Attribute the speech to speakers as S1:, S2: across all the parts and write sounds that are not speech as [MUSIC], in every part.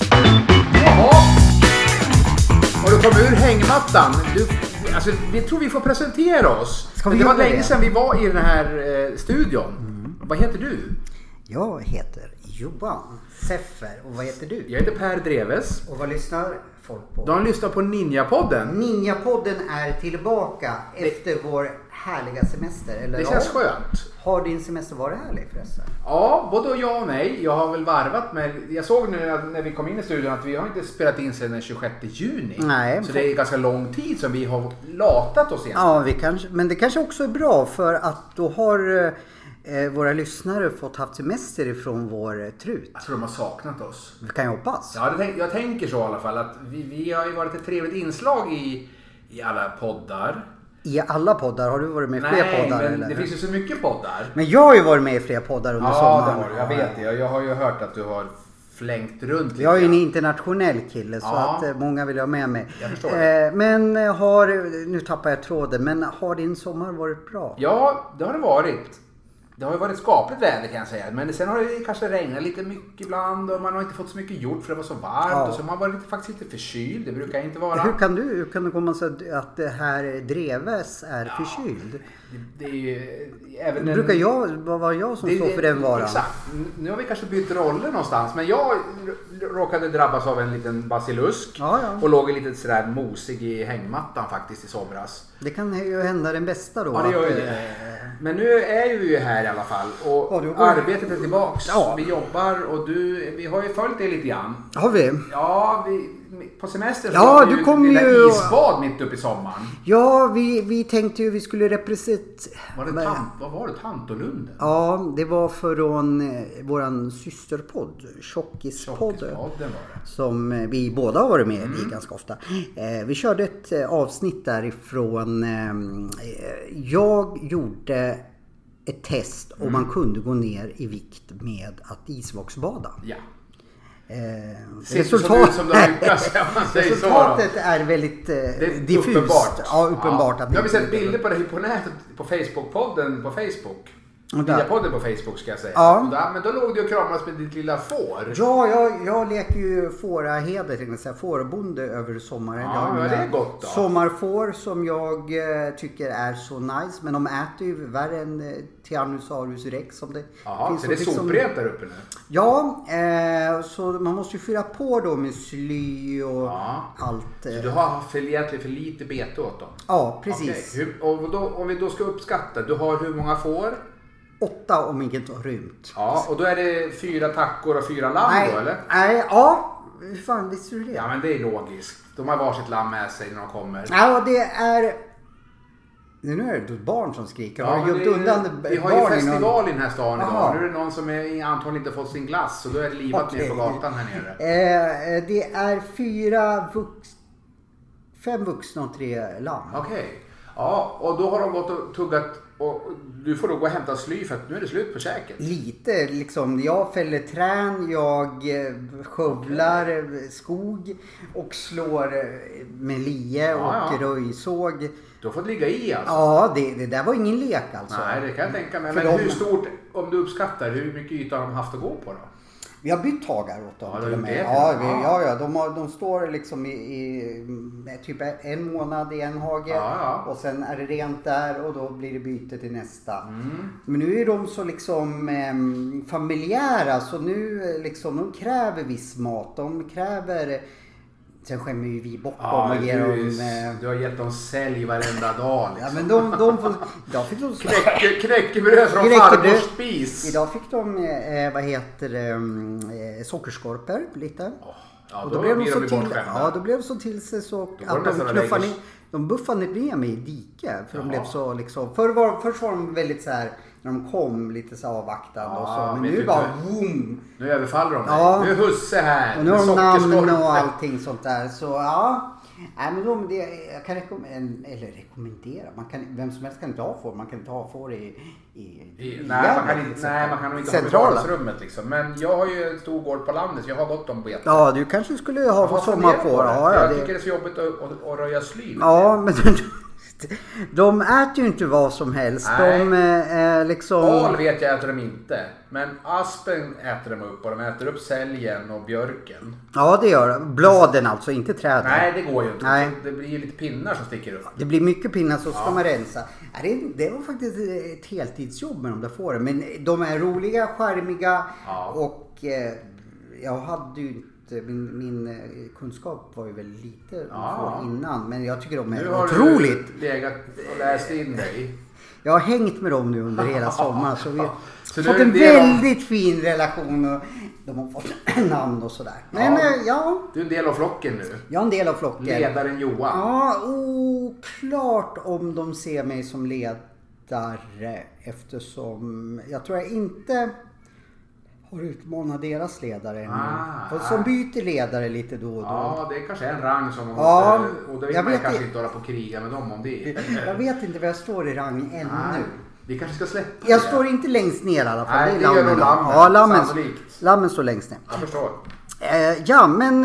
S1: Jaha! Har du kommit ur hängmattan? Du, alltså, vi tror vi får presentera oss.
S2: Ska vi
S1: det var
S2: göra
S1: länge
S2: det?
S1: sedan vi var i den här eh, studion. Vad heter du?
S2: Jag heter Johan Seffer och vad heter du?
S1: Jag heter Per Dreves.
S2: Och vad lyssnar folk på?
S1: De lyssnar på Ninja-podden.
S2: Ninjapodden är tillbaka efter vår härliga semester. Eller
S1: Det
S2: ja,
S1: känns skönt.
S2: Har din semester varit härlig förresten?
S1: Ja, både jag och mig. Jag har väl varvat med... Jag såg nu att när vi kom in i studion att vi har inte spelat in sedan den 26 juni.
S2: Nej.
S1: så det är ganska lång tid som vi har latat oss egentligen.
S2: Ja, vi kanske, men det kanske också är bra för att då har eh, våra lyssnare fått haft semester ifrån vår eh, trut.
S1: Jag tror de har saknat oss.
S2: Vi kan ju hoppas.
S1: Ja, det tänk, jag tänker så i alla fall. Att vi, vi har ju varit ett trevligt inslag i, i alla poddar.
S2: I alla poddar. Har du varit med i fler poddar?
S1: men
S2: eller?
S1: det finns ju så mycket poddar.
S2: Men jag har ju varit med i flera poddar under
S1: Ja, det
S2: sommaren.
S1: har du. Jag vet det. Jag, jag har ju hört att du har flängt runt lite.
S2: Jag är ju en internationell kille så
S1: Ja.
S2: att eh, många vill ha med mig.
S1: Jag förstår.
S2: Eh, Men eh, har, nu tappar jag tråden, men har din sommar varit bra?
S1: Ja, det har det varit. Det har ju varit skapligt väder kan jag säga. Men sen har det kanske regnat lite mycket ibland och man har inte fått så mycket gjort för det var så varmt.
S2: Ja.
S1: Och så har man varit lite, faktiskt lite förkyld. Det brukar inte vara.
S2: Hur kan du, hur kan det komma sig att- att det här Dreves är förkyld?
S1: Det, det är ju även en-
S2: Brukar jag, vad var jag som
S1: Det-
S2: står för den varan?
S1: Exakt. N- Nu har vi kanske bytt roller någonstans. Men jag r- råkade drabbas av en liten basilusk.
S2: Ja, ja.
S1: Och låg lite sådär mosig i hängmattan faktiskt i somras.
S2: Det kan ju hända den bästa då.
S1: Ja, det gör ju
S2: att, eh,
S1: det. Men nu är vi ju här i alla fall och
S2: Ja, du går-
S1: arbetet är tillbaks.
S2: Ja.
S1: Vi jobbar och du, vi har ju följt det lite grann.
S2: eh, Har vi?
S1: Ja, vi, på semester så
S2: Ja,
S1: har vi
S2: du kom
S1: lilla
S2: ju-
S1: isbad mitt uppe i sommaren.
S2: Ja, vi, vi tänkte ju vi skulle representera...
S1: Var det tant, vad var det? Tantolunden?
S2: Ja, det var från eh, våran systerpodd, Tjockispodden.
S1: Tjockispodden var det.
S2: Som eh, vi båda har varit med
S1: Mm.
S2: i ganska ofta. Eh, vi körde ett eh, avsnitt därifrån. Eh, jag gjorde ett test om
S1: Mm.
S2: man kunde gå ner i vikt med att isvaksbada.
S1: Ja.
S2: Eh,
S1: Ser inte så ut som du har
S2: [LAUGHS]
S1: lyckats om man säger så. då.
S2: Resultatet är väldigt eh,
S1: Det är
S2: diffust.
S1: uppenbart.
S2: Ja, uppenbart.
S1: Ja.
S2: Att
S1: Nu har vi
S2: inte-
S1: sett bilder på dig på nätet, på Facebook-podden på Facebook.
S2: Och där.
S1: Nya podden på Facebook ska jag säga.
S2: Ja.
S1: Och där, men då låg du och kramades med ditt lilla får.
S2: Ja, jag, jag leker ju fåraheder, tänkte jag säga, fårbonde över sommaren.
S1: Ja,
S2: Jag har
S1: men
S2: mina
S1: det är gott då.
S2: Sommarfår som jag eh, tycker är så nice, men de äter ju värre än eh, Tyrannosaurus rex. Som det
S1: Jaha, så
S2: så
S1: det är soprep där uppe nu?
S2: Ja, eh, så man måste ju fylla på då med sly och
S1: Ja.
S2: allt. eh.
S1: Du har haft för, egentligen för lite bete åt dem?
S2: Ja, precis.
S1: Okej, Hur, och då, om vi då ska uppskatta, du har hur många får?
S2: Åtta om inget har rymt.
S1: Ja, och då är det fyra tackor och fyra lamm
S2: nej,
S1: då eller?
S2: nej, ja. Hur fan visste du det?
S1: Ja men det är logiskt. De har varsitt lamm med sig när de kommer.
S2: Ja, det är... Nu är det ett barn som skriker. Har
S1: men
S2: du gömt
S1: det är-
S2: undan
S1: Vi har ju
S2: barnen?
S1: festival i den här stan
S2: Jaha.
S1: idag. Nu är det någon som är, antagligen inte fått sin glass så då är det livat
S2: Okej.
S1: ner på gatan här nere.
S2: Eh, eh, det är fyra vux... Fem vuxna och tre lamm.
S1: Okej. Ja, och då har de gått och tuggat och du får då gå och hämta sly för att nu är det slut på käket.
S2: Lite liksom. Jag fäller trän, jag eh, skövlar eh, skog och slår eh, med lie och
S1: Ja, ja.
S2: röjsåg.
S1: Du har fått ligga i alltså.
S2: Ja, det, det där var ingen lek alltså.
S1: Nej, det kan jag tänka mig.
S2: För
S1: Men
S2: dem-
S1: hur stort, om du uppskattar, hur mycket yta har de haft att gå på då?
S2: Vi har bytt hagar åt dem
S1: Ja,
S2: till
S1: det-
S2: och med.
S1: det-
S2: Ja, vi,
S1: ja.
S2: ja, ja, de, har, de står liksom i, i med typ en månad i en hage
S1: Ja, ja.
S2: och sen är det rent där och då blir det byte till nästa.
S1: Mm.
S2: Men nu är de så liksom em, familjära så nu eh, liksom de kräver viss mat. De kräver Sen skämmer ju vi bort dem och ger
S1: du,
S2: dem... eh,
S1: du har gett dem sälj varenda dag
S2: Ja
S1: liksom.
S2: men de, de får... Idag fick de slå
S1: Knäcke, knäckebröd från
S2: Knäckebröd.
S1: farmors spis.
S2: Idag fick de, eh, vad heter det, eh, sockerskorpor lite.
S1: ja,
S2: Och
S1: då blir de ju bortskämda.
S2: Ja, då blev de så till sig så
S1: de
S2: att de
S1: nästan
S2: knuffade
S1: allergiska.
S2: ner, de buffade ner mig i dike. För de
S1: Jaha.
S2: blev så liksom, förr var, först var de väldigt så här, när de kom lite så här avvaktande och
S1: Ja,
S2: så. Men
S1: men
S2: nu
S1: du-
S2: bara boom!
S1: Nu överfaller de dig.
S2: Ja.
S1: Nu är husse här.
S2: Och nu har de
S1: Sockerskorpor.
S2: namn och allting sånt där. Så ja. Nej, men då, det, jag kan rekommendera, eller rekommendera, man kan, vem som helst kan inte ha får. Man kan inte ha får i, i,
S1: I,
S2: i
S1: nej, man
S2: landet,
S1: kan inte,
S2: liksom.
S1: nej, man kan nog inte
S2: Centrala.
S1: ha betalningsrummet liksom. Men jag har ju en stor gård på landet så jag har gott om bete.
S2: Ja, du kanske skulle ha
S1: Jag har
S2: fått
S1: funderat på
S2: sommarfår.
S1: det.
S2: Ja, ja,
S1: jag
S2: det,
S1: tycker det är så jobbigt att, att, att röja sly.
S2: ja, men [LAUGHS] de äter ju inte vad som helst. De eh, eh, liksom...
S1: Al vet jag äter de inte. Men aspen äter de upp och de äter upp sälgen och björken.
S2: Ja, det gör de. Bladen alltså, inte träden.
S1: Nej, det går ju inte.
S2: Nej.
S1: Det blir ju lite pinnar som sticker upp.
S2: Det blir mycket pinnar så ska man rensa. Ja, Det, det var faktiskt ett heltidsjobb med de där fåren. Men de är roliga, charmiga
S1: Ja.
S2: och eh, jag hade ju inte, min, min eh, kunskap var ju väldigt lite
S1: Ja.
S2: ja. får innan. Men jag tycker de
S1: Nu
S2: är
S1: har
S2: otroligt.
S1: du legat och läst in dig.
S2: Jag har hängt med dem nu
S1: [LAUGHS]
S2: under hela sommaren. Så vi har
S1: Så nu
S2: fått
S1: är
S2: en
S1: det de-
S2: väldigt fin relation och de har fått [CLEARS THROAT] namn och sådär. Men
S1: Ja.
S2: eh, ja,
S1: Du är en del av flocken nu.
S2: jag är en del av flocken.
S1: Ledaren Johan.
S2: Ja, oklart om de ser mig som ledare eftersom jag tror jag inte har utmanat deras ledare ännu.
S1: Ah.
S2: Och som byter ledare lite då och då.
S1: Ja, det är kanske är en rang som man
S2: Ja,
S1: måste... Och det vill
S2: jag
S1: man
S2: vet
S1: kanske
S2: i-
S1: inte hålla på och kriga med dem om det.
S2: Jag vet inte var jag står i rang ännu.
S1: Nej, Vi kanske ska släppa
S2: Jag
S1: det.
S2: står inte längst ner i alla fall.
S1: Nej,
S2: det är
S1: det gör
S2: lammen.
S1: nog lammen,
S2: Ja, lammen,
S1: sannolikt.
S2: lammen står längst ner.
S1: Jag förstår.
S2: Eh, ja, men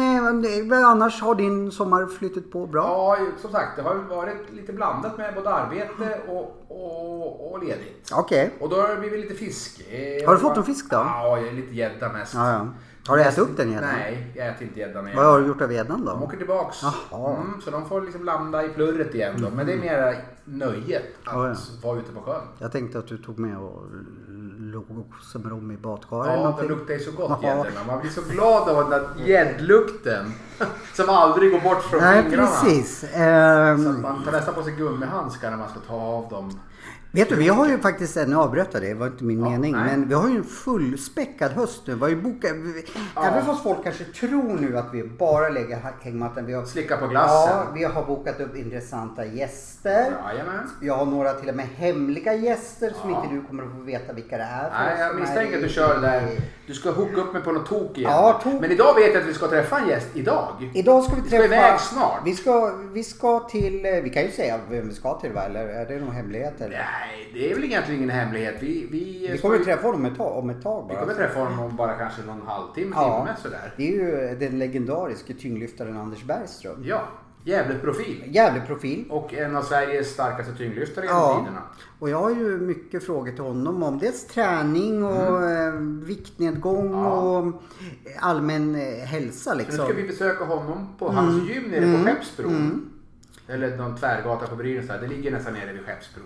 S2: eh, annars har din sommar flyttat på bra?
S1: Ja, som sagt, det har ju varit lite blandat med både arbete och, och, och ledigt.
S2: Okej.
S1: Och då har det blivit lite fisk. Eh,
S2: Har du fått någon fisk då?
S1: Ja, jag är lite gädda mest.
S2: Ja, ja. Har du ätit upp den gäddan?
S1: Nej, jag äter inte gäddan igen.
S2: Vad har du gjort av gäddan
S1: De
S2: då?
S1: åker tillbaks.
S2: Jaha. Mm.
S1: Mm, så de får liksom landa i plurret igen då. Men det är mera nöjet att
S2: Ja, ja.
S1: vara ute på sjön.
S2: Jag tänkte att du tog med och låg och som rom i badkaret. eller
S1: Ja, det
S2: någonting.
S1: luktar ju så
S2: Ja.
S1: gott gäddorna. Man blir så glad av den där gäddlukten. [LAUGHS] Som aldrig går bort från
S2: Nej,
S1: fingrarna.
S2: precis. Ehm,
S1: Så att man tar nästan på sig gummihandskar när man ska ta av dem.
S2: vet du, vi har ju faktiskt, nu avbröt jag det, det var inte min
S1: Ja,
S2: mening,
S1: nej.
S2: men vi har ju en fullspäckad höst nu. Vi har ju bokat, vi- även fast folk kanske tror nu att vi bara lägger ha- hängmattan. Vi har,
S1: Slicka på
S2: ja,
S1: glassen.
S2: vi har bokat upp intressanta gäster.
S1: Jajamän.
S2: Jag har några till och med hemliga gäster som
S1: Ja.
S2: inte du kommer att få veta vilka det är. för
S1: Nej,
S2: oss
S1: jag
S2: som
S1: misstänker
S2: är
S1: att
S2: i-
S1: du kör det där. Du ska hooka upp mig på något tok igen.
S2: Ja, tok.
S1: Men idag vet jag att vi ska träffa en gäst idag.
S2: Idag ska vi
S1: Vi
S2: träffa...
S1: ska iväg snart.
S2: Vi ska, vi ska till... eh, Vi kan ju säga vem vi ska till va? Eller är det någon hemlighet? Eller?
S1: Nej, det är väl egentligen ingen hemlighet. Vi, vi,
S2: vi kommer ju träffa honom ett tag, om ett tag
S1: vi
S2: bara.
S1: kommer träffa honom om bara kanske någon halvtimme,
S2: Ja.
S1: timme sådär.
S2: Det är ju den legendariske tyngdlyftaren Anders Bergström.
S1: Ja, jävligt profil.
S2: Jävlig profil.
S1: Och en av Sveriges starkaste tyngdlyftare genom
S2: Ja.
S1: tiderna.
S2: Och jag har ju mycket frågor till honom om dels träning och eh, viktnedgång
S1: Mm. Ja.
S2: och eh, allmän eh, hälsa
S1: Så nu ska
S2: liksom.
S1: vi besöka honom på
S2: Mm.
S1: hans gym nere på Skeppsbron. Eller någon tvärgata på Brynäs där. Det ligger nästan nere vid Skeppsbron.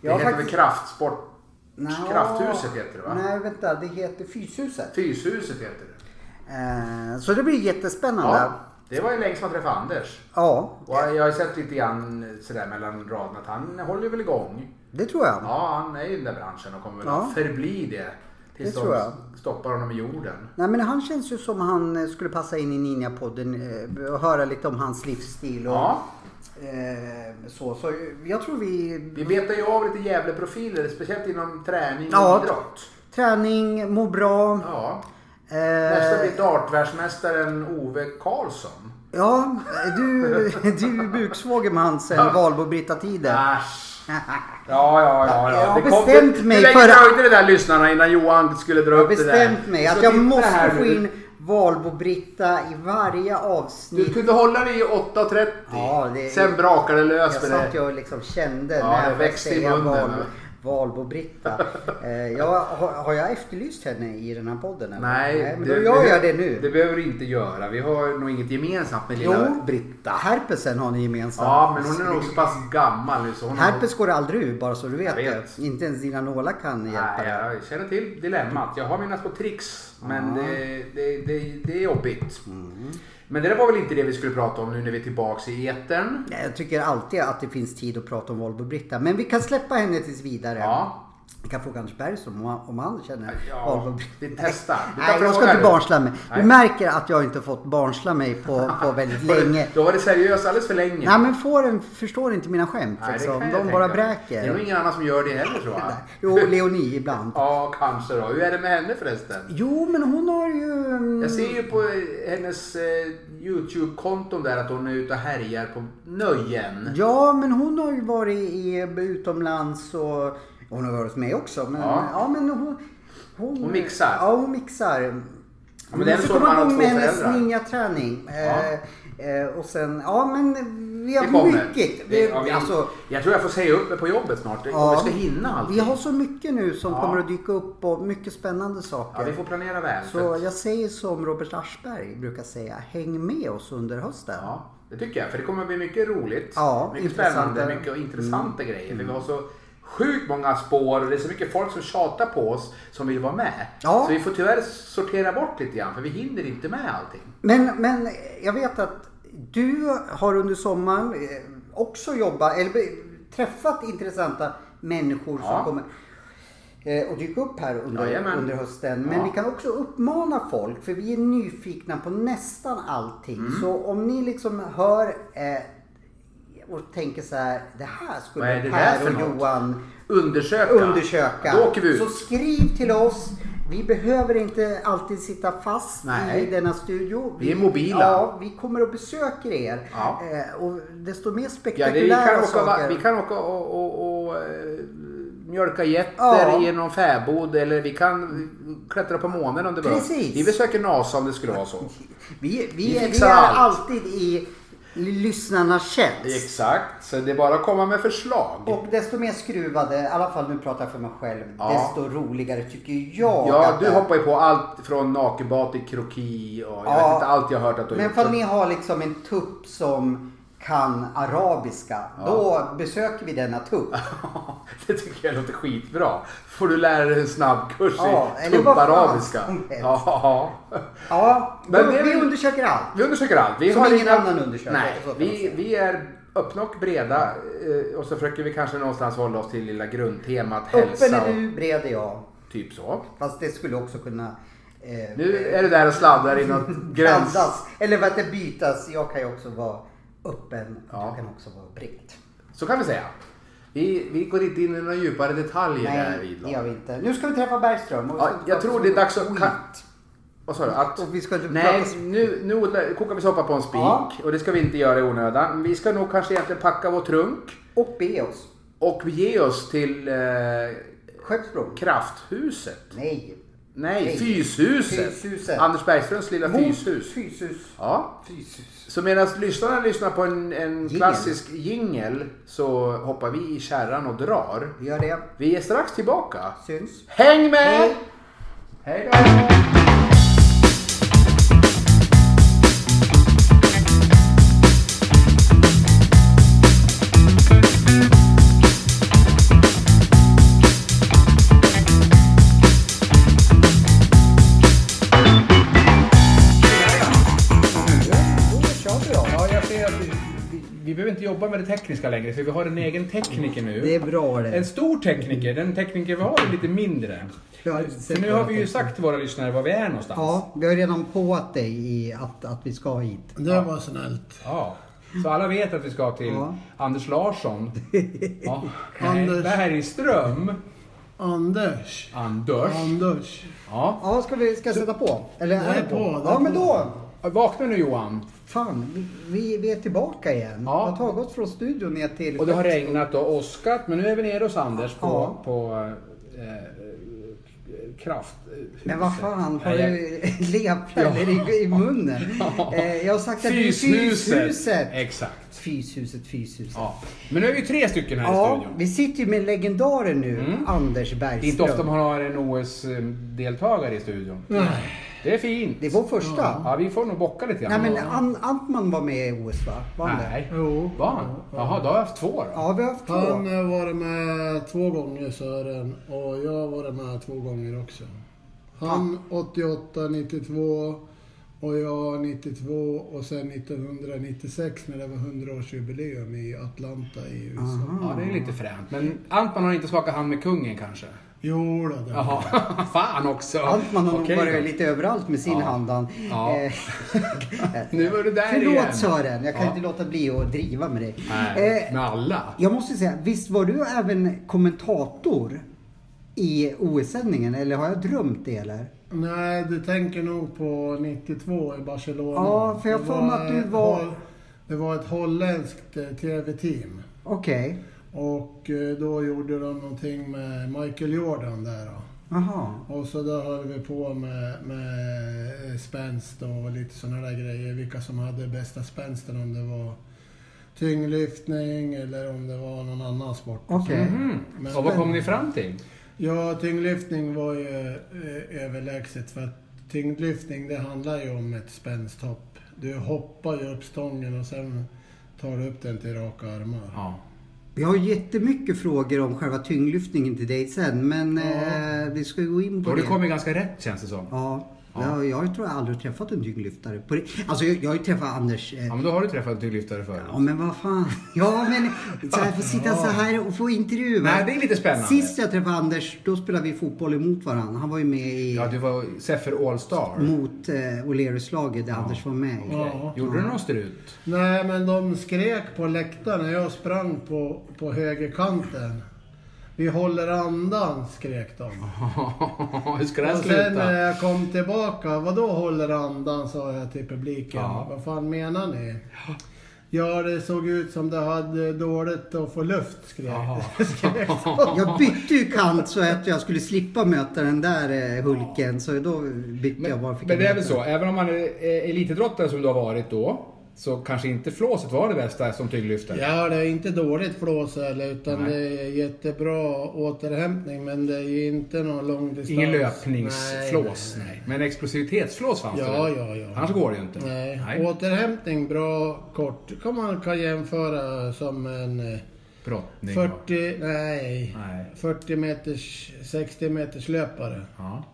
S1: Det
S2: Jag har
S1: heter
S2: faktiskt-
S1: väl Kraftsport...
S2: Nå,
S1: Krafthuset heter det va?
S2: Nej vänta, det heter Fyshuset.
S1: Fyshuset heter det.
S2: Eh, så det blir jättespännande.
S1: Ja, det var ju länge som man träffade Anders.
S2: ja
S1: Och jag har ju sett lite grann sådär mellan raderna att han håller väl igång.
S2: det tror jag.
S1: Ja, han är ju i den där branschen och kommer väl
S2: Ja.
S1: att förbli det. Tills
S2: Det tror jag.
S1: de stoppar honom i jorden.
S2: Nej men han känns ju som han eh, skulle passa in i Ninja-podden eh, och höra lite om hans livsstil och
S1: Ja,
S2: eh, så. Så jag tror vi...
S1: vi betar ju av lite jävla profiler, speciellt inom träning och
S2: Ja.
S1: idrott.
S2: Träning, må bra.
S1: Ja. Nästa
S2: Eh,
S1: blir dartvärldsmästaren Ove Karlsson.
S2: ja, du, du buksvåger med han sen
S1: Ja.
S2: Valbo-Britta Tider. [LAUGHS]
S1: Äsch. Ja, ja, ja. ja.
S2: Jag har
S1: Det kom-
S2: bestämt mig
S1: Hur länge
S2: för att-
S1: dröjde det där lyssnarna innan Johan skulle dra
S2: Jag har
S1: upp det där?
S2: bestämt mig
S1: Vi
S2: att
S1: ska
S2: jag
S1: titta
S2: måste
S1: här
S2: få
S1: nu.
S2: in Valbo-Britta i varje
S1: Du
S2: avsnitt.
S1: kunde hålla dig i 8.30.
S2: Ja, det-
S1: Sen brakade det
S2: Jag
S1: lös med
S2: satt
S1: det.
S2: jag och liksom kände
S1: Ja,
S2: när
S1: det
S2: jag
S1: växte i
S2: säga
S1: munnen,
S2: Valbo-
S1: va? [LAUGHS]
S2: Valbo-Britta. Eh, jag, har, har jag efterlyst henne i den här podden? Eller?
S1: Nej,
S2: men då gör jag det nu.
S1: Det behöver du inte göra. Vi har nog inget gemensamt med lilla
S2: Jo.
S1: Britta.
S2: Herpesen har ni gemensamt.
S1: Ja, men hon är nog så pass gammal nu så hon har...
S2: Herpes går aldrig ur bara så du vet,
S1: Jag vet.
S2: det. Inte ens dina nålar kan hjälpa
S1: Nej,
S2: dig.
S1: jag känner till dilemmat. Jag har mina små tricks, men
S2: Ja. Mm.
S1: det, det, det, det är jobbigt. Men det där var väl inte det vi skulle prata om nu när vi är tillbaks i etern.
S2: Nej, Jag tycker alltid att det finns tid att prata om Volvo Britta. Men vi kan släppa henne tills vidare.
S1: Ja.
S2: Vi kan fråga Anders Bergström om, om han känner
S1: Ja, vi testar. Du kan
S2: Nej, jag ska
S1: fråga
S2: inte
S1: det.
S2: barnsla mig. Du
S1: Nej.
S2: märker att jag inte fått barnsla mig på, på väldigt länge.
S1: Då var det seriöst alldeles för länge.
S2: Nej men fåren förstår inte mina skämt.
S1: Nej, det
S2: liksom.
S1: kan jag
S2: De
S1: tänka
S2: bara
S1: mig. Det är nog
S2: bräker.
S1: ingen annan som gör det heller tror jag.
S2: Jo, Leonie ibland.
S1: Ja, kanske då. Hur är det med henne förresten?
S2: Jo, men hon har ju... mm,
S1: Jag ser ju på eh, hennes eh, YouTube-konton där att hon är ute och härjar på nöjen.
S2: Ja, men hon har ju varit i, utomlands och... Hon har varit med också, men... Ja,
S1: Ja.
S2: men hon, hon...
S1: Hon mixar.
S2: Ja, hon mixar. Mm,
S1: men det är
S2: måste
S1: så man
S2: komma
S1: har
S2: igång
S1: två
S2: med hennes
S1: föräldrar.
S2: ninjaträning. Eh, eh, och sen, ja men vi
S1: Det
S2: har
S1: kommer.
S2: mycket.
S1: Det,
S2: Vi,
S1: ja, vi,
S2: alltså,
S1: jag tror jag får säga upp mig på jobbet snart.
S2: Ja.
S1: Om vi ska hinna allt.
S2: vi har så mycket nu som
S1: Ja.
S2: kommer att dyka upp och mycket spännande
S1: Ja,
S2: saker.
S1: vi får planera väl.
S2: Så jag säger som Robert Aschberg brukar säga, häng med oss under hösten.
S1: Ja, det tycker jag. För det kommer bli mycket roligt.
S2: Ja,
S1: mycket
S2: intressanta- Mm.
S1: spännande, mycket intressanta grejer. För vi har så sjukt många spår och det är så mycket folk som tjatar på oss som vill vara med.
S2: Ja.
S1: Så vi får tyvärr sortera bort lite grann för vi hinner inte med allting.
S2: Men, men jag vet att du har under sommaren eh, också jobbat, eller be- träffat intressanta människor som
S1: Ja.
S2: kommer eh, och dyka upp här under,
S1: Jajamän.
S2: under hösten. Men
S1: Ja.
S2: vi kan också uppmana folk, för vi är nyfikna på nästan allting.
S1: Mm.
S2: Så om ni liksom hör eh, och tänker så här, det här
S1: Vad är
S2: skulle
S1: det där
S2: Per
S1: för
S2: och
S1: något?"
S2: Johan
S1: Undersöka.
S2: undersöka.
S1: Då åker vi ut.
S2: Så skriv till oss. Vi behöver inte alltid sitta fast
S1: Nej.
S2: i denna studio.
S1: Vi är mobila.
S2: Ja, vi kommer och besöker er.
S1: Ja.
S2: Eh, och desto mer
S1: Ja, det, vi,
S2: spektakulära
S1: kan åka, va-
S2: saker.
S1: vi kan åka och, och, och eh, mjölka getter
S2: Ja.
S1: i någon fäbod eller vi kan klättra på månen om det behövs.
S2: Precis.
S1: Vi besöker NASA om det skulle vara så.
S2: vi, vi,
S1: vi
S2: vi,
S1: fixar
S2: är
S1: allt.
S2: alltid i lyssnarnas tjänst.
S1: Exakt, så det är bara att komma med förslag.
S2: Och desto mer skruvade, i alla fall nu pratar jag för mig själv,
S1: Ja.
S2: desto roligare tycker jag.
S1: Ja,
S2: att
S1: du
S2: det-
S1: hoppar ju på allt från nakenbad till kroki och jag
S2: Ja.
S1: vet inte allt jag har hört att du har
S2: Men
S1: gjort.
S2: ifall ni har liksom en tupp som kan arabiska, då besöker vi denna tupp.
S1: [LAUGHS] Det tycker jag låter skitbra. Får du lära dig en snabbkurs
S2: Ja,
S1: i
S2: eller vad fan
S1: tupparabiska.
S2: som helst.
S1: Ja,
S2: Ja,
S1: Men
S2: vi,
S1: det är
S2: vi
S1: väl-
S2: undersöker allt.
S1: vi undersöker allt. Vi
S2: Som
S1: har
S2: ingen
S1: inga-
S2: annan undersöker,
S1: Nej,
S2: så kan man
S1: vi,
S2: säga.
S1: vi är öppna och breda eh, och så försöker vi kanske någonstans hålla oss till lilla grundtemat
S2: Öppen
S1: hälsa
S2: är
S1: och
S2: du, bred är jag.
S1: typ så.
S2: Fast det skulle också kunna eh,
S1: Nu är det där och sladdar i
S2: [LAUGHS]
S1: något gräns.
S2: blandas. Eller vad det bytas. Jag kan ju också vara öppen.
S1: Ja.
S2: Jag kan också vara bred.
S1: Så kan vi säga. Vi, vi går inte in i några djupare detaljer där
S2: Nej, det
S1: vidlag.
S2: gör vi inte. Nu ska vi träffa Bergström. och vi
S1: Ja,
S2: ska inte
S1: jag
S2: prata
S1: tror
S2: så
S1: det är
S2: mycket
S1: dags att-
S2: skit.
S1: kan- Vad sa du? Att...
S2: Och vi ska inte
S1: Nej,
S2: prata så-
S1: nu, nu odlar- kokar vi soppa på en spik
S2: Ja.
S1: och det ska vi inte göra i onödan. Vi ska nog kanske egentligen packa vår trunk
S2: Och be oss.
S1: och ge oss till eh,
S2: Skeppsbron.
S1: Krafthuset.
S2: Nej.
S1: Nej,
S2: Nej.
S1: Fyshuset.
S2: Fyshuset.
S1: Anders Bergströms lilla
S2: Mot
S1: Fyshus.
S2: Fyshus.
S1: Ja.
S2: Fyshus.
S1: Så medan lyssnarna lyssnar på en, en
S2: Jingel.
S1: klassisk jingel så hoppar vi i kärran och drar.
S2: Vi gör det.
S1: Vi är strax tillbaka.
S2: Syns.
S1: Häng med!
S2: Hej.
S1: Hej då!
S2: Då kör vi då.
S1: Ja, jag ser att vi, vi, vi behöver inte jobba med det tekniska längre för vi har en egen tekniker nu.
S2: Det är bra
S1: En
S2: det.
S1: stor tekniker, den tekniker vi har är lite mindre.
S2: Jag har
S1: För
S2: sett
S1: nu
S2: vad
S1: har
S2: det
S1: vi ju
S2: är.
S1: sagt till våra lyssnare var vi är någonstans.
S2: Ja, vi har redan påat dig i att, att vi ska hit.
S3: Det var snällt.
S1: Ja. Så alla vet att vi ska till
S2: Ja.
S1: Anders Larsson.
S2: [LAUGHS]
S1: Ja. Nej,
S3: Anders.
S1: Bergström.
S3: Anders.
S1: Anders.
S3: Anders.
S1: Ja.
S2: Ja, ska vi ska jag sätta på? Eller
S3: Det är på, det
S2: Ja,
S3: är
S2: men
S3: på.
S2: då.
S1: Vakna nu Johan.
S2: Fan, vi, vi, vi är tillbaka igen.
S1: Ja.
S2: Vi har tagit oss från studion ner till...
S1: Och det har regnat och åskat men nu är vi nere hos Anders på,
S2: Ja.
S1: på eh, eh, kraft.
S2: Men vad fan, har
S1: Nej, jag-
S2: du [LAUGHS] lerpeller i, i munnen? Eh, Jag har sagt att det är Fyshuset.
S1: Exakt.
S2: Fyshuset, Fyshuset. Ja,
S1: Ja. Men nu är vi tre stycken här i studion.
S2: vi sitter ju med legendaren nu, Anders
S1: Det är inte ofta
S2: Bergström.
S1: man har en OS-deltagare i studion.
S3: Nej.
S1: Det är fint.
S2: Det är vår första.
S1: Ja, vi får nog bocka lite
S2: Nej
S1: grann.
S2: men An- Antman var med i OS va? Var han det?
S1: Nej.
S3: Jo.
S1: Var han? Jaha, då har jag haft två då.
S2: Ja, vi har haft två.
S3: Han har varit med två gånger Sören och jag har varit med två gånger också. Han 88, 92 Och jag 92 och sen 1996 när det var 100-årsjubileum i Atlanta i USA.
S4: Ja, det är
S2: Mm.
S4: lite fränt. Men Antman har inte skakat hand med kungen kanske?
S3: Jo då, det
S4: Jaha, [LAUGHS] fan också!
S2: Altman har
S4: Okej
S2: nog varit
S4: då.
S2: lite överallt med sin
S4: Ja.
S2: handan.
S4: Ja.
S2: Eh,
S4: [LAUGHS] Nu var du där
S2: Förlåt
S4: igen.
S2: Sören, jag kan
S4: Ja.
S2: inte låta bli att driva med dig.
S4: Nej,
S2: Eh,
S4: med alla.
S2: jag måste säga, visst var du även kommentator i OS-sändningen? Eller har jag drömt det eller?
S3: Nej, du tänker nog på 92 i Barcelona.
S2: Ja, för jag
S3: Det
S2: får
S3: var
S2: mig att du
S3: ett
S2: var-
S3: holl- Det var ett holländskt eh, TV-team.
S2: Okej.
S3: Och eh, då gjorde de någonting med Michael Jordan där då.
S2: Jaha.
S3: Och så då höll vi på med, med eh, spänst och lite sådana där grejer. Vilka som hade bästa spänsten. Om det var tyngdlyftning eller om det var någon annan sport.
S2: Okej.
S4: Mm.
S3: Men-
S4: Och vad kom ni fram till?
S3: Ja, tyngdlyftning var ju eh, överlägset för att tyngdlyftning det handlar ju om ett spänsthopp. Du hoppar ju upp stången och sen tar du upp den till raka armar.
S4: Ja.
S2: Vi har jättemycket frågor om själva tyngdlyftningen till dig sen, men eh, vi ska ju gå in på
S4: Och
S2: det.
S4: det kom ju ganska rätt känns det som.
S2: Ja. Jag, jag tror jag aldrig har träffat en tyngdlyftare. På det. Alltså jag, jag har ju träffat Anders. Eh,
S4: Ja, men då har du träffat en tyngdlyftare förut.
S2: Ja men vad fan. Ja men så jag får sitta så här och få intervjua.
S4: Nej, det är lite spännande.
S2: Sist jag träffade Anders, då spelade vi fotboll emot varandra. Han var ju med i,
S4: Ja, du var Seffer All-Star.
S2: mot eh, O'Learys-laget där Anders var med. i.
S3: Ja.
S4: Gjorde du någon strut?
S3: Nej, men de skrek på läktaren när jag sprang på, på högerkanten. Vi håller andan, skrek de.
S4: [LAUGHS] Hur ska det här
S2: Alltså,
S3: Och sen när
S4: sluta?
S2: eh,
S3: jag kom tillbaka, vadå håller andan sa jag till publiken.
S4: Ja.
S3: Vad fan menar ni? Ja, det såg ut som det hade dåligt att få luft, skrek,
S4: Jaha.
S3: [LAUGHS] skrek de.
S2: Jag bytte ju kant så att jag skulle slippa möta den där eh, Hulken. Så då bytte jag
S4: Men,
S2: bara.
S4: men det är väl så, även om man är eh, elitidrottare som du har varit då, så kanske inte flåset var det bästa som tyngdlyftare.
S3: Ja, det är inte dåligt flås heller, utan det är jättebra återhämtning. Men det är ju inte någon lång distans.
S4: Ingen
S3: Nej,
S4: löpningsflås. Nej, Men explosivitetsflås fanns det
S3: Ja,
S4: väl?
S3: ja, ja.
S4: Annars går det ju inte.
S3: Nej. Nej. Återhämtning, bra, kort. Kan man kan jämföra som en eh,
S4: Brottning. va?
S3: 40, nej,
S4: Nej.
S3: 40 meters, 60 meters löpare.
S4: Ja.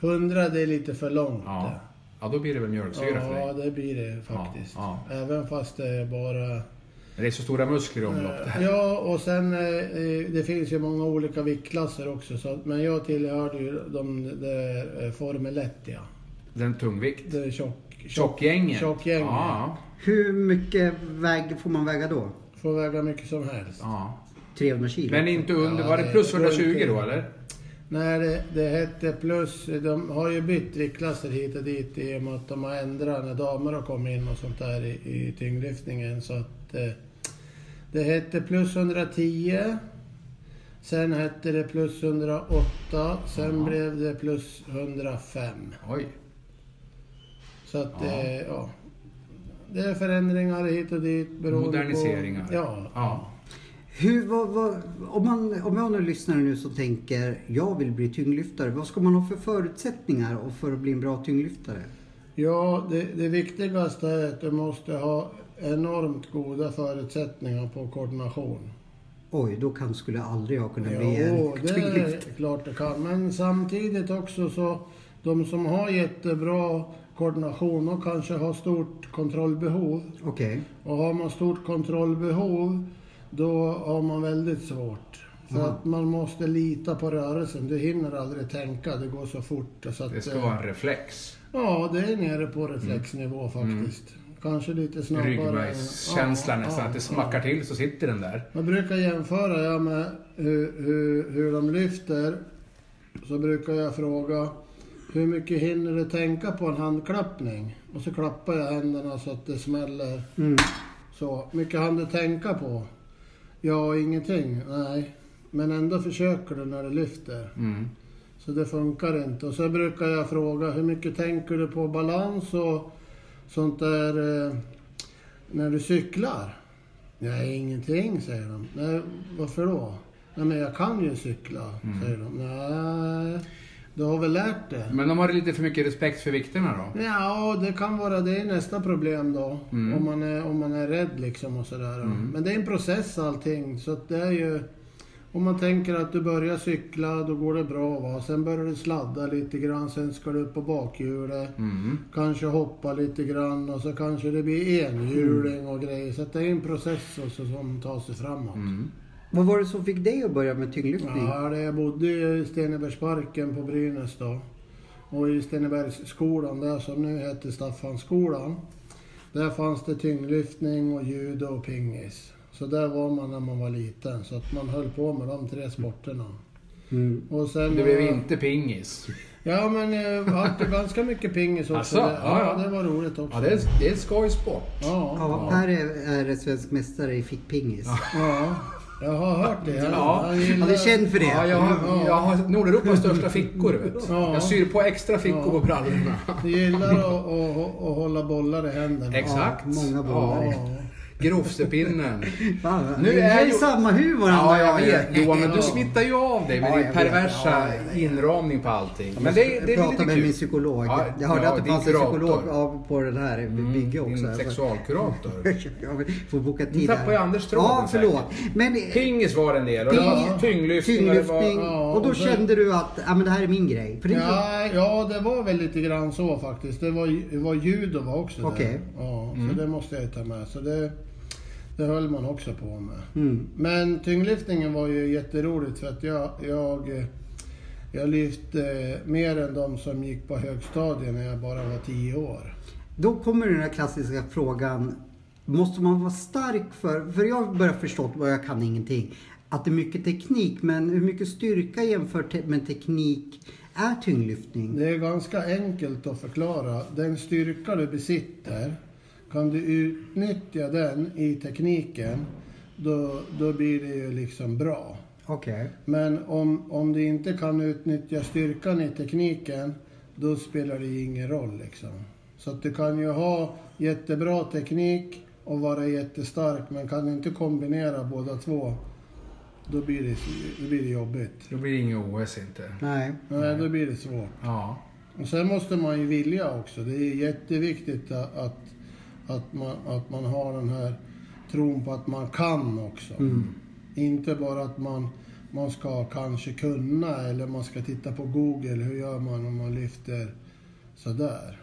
S3: 100 det är lite för långt.
S4: Ja. ja, då blir det väl mjölksyra för
S3: ja
S4: dig.
S3: det blir det faktiskt.
S4: Ja,
S3: Även fast det är bara
S4: Men det är så stora muskler i omlopp. där.
S3: Ja, och sen eh, eh, det finns ju många olika viktklasser också. Så, att- men jag tillhörde ju de där eh, Formel 1 ja.
S4: Den tungvikt.
S3: Det är tjock,
S4: Tjockgänget.
S3: Tjockgänget.
S4: Ja,
S2: Hur mycket väg får man väga då?
S3: Får väga mycket som helst.
S4: ja.
S2: 300 kilo?
S4: Men inte under,
S3: Ja,
S4: var det
S3: det-
S4: plus
S3: det går
S4: 120
S3: inte.
S4: då eller?
S3: Nej, det, det hette plus. De har ju bytt viktklasser hit och dit i och med att de har ändrat när damer har kommit in och sånt där i, i tyngdlyftningen. Så att, eh, det hette plus 110. Sen hette det plus 108. Sen blev det plus 105.
S4: Oj.
S3: Så att det, ja. Det är förändringar hit och dit beroende
S4: Moderniseringar.
S3: på... Ja.
S4: ja.
S2: Hur, vad, vad, om, man, om jag nu lyssnar nu som tänker jag vill bli tyngdlyftare. Vad ska man ha för förutsättningar och för att bli en bra tyngdlyftare?
S3: Ja, det, det viktigaste är att du måste ha enormt goda förutsättningar på koordination.
S2: Oj, då kan, skulle jag aldrig jag kunna
S3: Jo,
S2: bli en
S3: det är
S2: tyngdlyftare.
S3: klart du kan. Men samtidigt också så, de som har jättebra koordination, de kanske har stort kontrollbehov.
S2: Okej.
S3: Och har man stort kontrollbehov, då har man väldigt svårt. För
S4: Mm.
S3: att man måste lita på rörelsen. Du hinner aldrig tänka, det går så fort. Så att,
S4: Det ska
S3: eh,
S4: vara en reflex.
S3: Ja, det är nere på
S4: Mm.
S3: reflexnivå faktiskt. Kanske lite snabbare.
S4: Ryggmärgskänsla
S3: Ja,
S4: nästan.
S3: ja,
S4: Att det smackar till så sitter den där.
S3: man brukar jämföra ja, med hur, hur, hur de lyfter. Så brukar jag fråga hur mycket hinner du tänka på en handklappning? Och så klappar jag händerna så att det smäller.
S2: Mm.
S3: Så, mycket hann du tänka på? Ja, ingenting. Nej. Men ändå försöker du när du lyfter.
S4: Mm.
S3: Så det funkar inte. Och så brukar jag fråga hur mycket tänker du på balans och sånt där eh, när du cyklar? Nej, ingenting, säger de. Nej, varför då? Nej, men jag kan ju cykla, säger de. Nej, du har väl lärt dig?
S4: Men de har lite för mycket respekt för vikterna då?
S3: Ja, det kan vara det är nästa problem då. Om, man är, om man är rädd liksom och sådär. Men det är en process allting. Så att det är ju... Om man tänker att du börjar cykla, då går det bra. Va? Sen börjar du sladda lite grann, sen ska du upp på bakhjulet.
S4: Mm.
S3: Kanske hoppa lite grann och så kanske det blir enhjuling och grejer. Så att det är en process också som tar sig framåt.
S4: Mm.
S2: Vad var det som fick dig att börja med tyngdlyftning?
S3: Ja, det- jag bodde ju i Stenebergsparken på Brynäs då. Och i Stenebergsskolan där som nu heter Staffanskolan. Där fanns det tyngdlyftning och judo och pingis. Så där var man när man var liten. Så att man höll på med de tre sporterna.
S2: Mm.
S3: Och sen... eh,
S1: Det blev inte pingis.
S3: Ja men eh, det vart ju ganska mycket pingis också.
S1: Asså?
S3: det,
S1: Ja,
S3: ja,
S1: ja.
S3: det var roligt också.
S1: Ja, det är, det är skojsport.
S3: ja,
S2: Ja, Per är, är svensk mästare i fickpingis.
S3: ja. Jag har hört det.
S1: Ja.
S3: Jag gillar-
S2: Han är känd för det.
S1: Ja, jag, har- jag har Nordeuropas största fickor, vet.
S3: Ja.
S1: Jag syr på extra fickor på brallorna.
S3: Du gillar att, att, att hålla bollar i händerna.
S1: Exakt.
S2: många bollar.
S1: Ja. Grofsepinnen. Nu
S2: Fan, nu
S1: är
S2: är ju
S1: ju-
S2: samma huvud varandra.
S1: Ja, jag vet Johan, men du
S3: Ja.
S1: smittar ju av dig med
S2: Ja,
S1: din
S2: jag vet.
S1: perversa
S2: Ja, ja,
S1: inramning på allting. Men det, det
S2: jag
S1: är
S2: pratade
S1: lite
S2: med min
S1: kul.
S2: psykolog.
S1: Ja,
S2: jag hörde
S1: ja,
S2: att det
S1: din
S2: fanns en
S1: kurator. Mm,
S2: psykolog ja, på den här bygget också.
S1: Din sexualkurator.
S2: [LAUGHS] Jag får boka tid
S1: Nu tappar
S2: här.
S1: jag Anders tråden
S2: Ja, förlåt. Men,
S1: Pingis var det en del och det var
S2: Ping-
S1: tyngdlyftning. och det var-
S2: Tyngdlyftning.
S3: ja,
S2: Och då
S3: och så-
S2: kände du att ja, men det här är min grej. För det är inte-
S3: Ja, ja, det var väl lite grann så faktiskt. Det var, det var judo var också där.
S2: Okej.
S3: Ja, så det måste jag ju ta med. Så det, det höll man också på med. Men tyngdlyftningen var ju jätteroligt för att jag, jag, jag lyfte mer än de som gick på högstadiet när jag bara var 10 år.
S2: Då kommer den här klassiska frågan. Måste man vara stark för, för jag börjar förstå att jag kan ingenting, att det är mycket teknik. Men hur mycket styrka jämfört te- med teknik är tyngdlyftning?
S3: Det är ganska enkelt att förklara. Den styrka du besitter, kan du utnyttja den i tekniken, då, då blir det ju liksom bra.
S2: Okej.
S3: Men om, om du inte kan utnyttja styrkan i tekniken, då spelar det ju ingen roll. Liksom. Så att du kan ju ha jättebra teknik och vara jättestark, men kan du inte kombinera båda två, då blir det, då blir det jobbigt.
S1: Då blir det inget OS inte.
S2: Nej.
S3: Nej, då blir det svårt.
S1: Ja.
S3: Och sen måste man ju vilja också. Det är jätteviktigt a- att, att, man, att man har den här tron på att man kan också. Inte bara att man, man ska kanske kunna eller man ska titta på Google. Hur gör man om man lyfter sådär?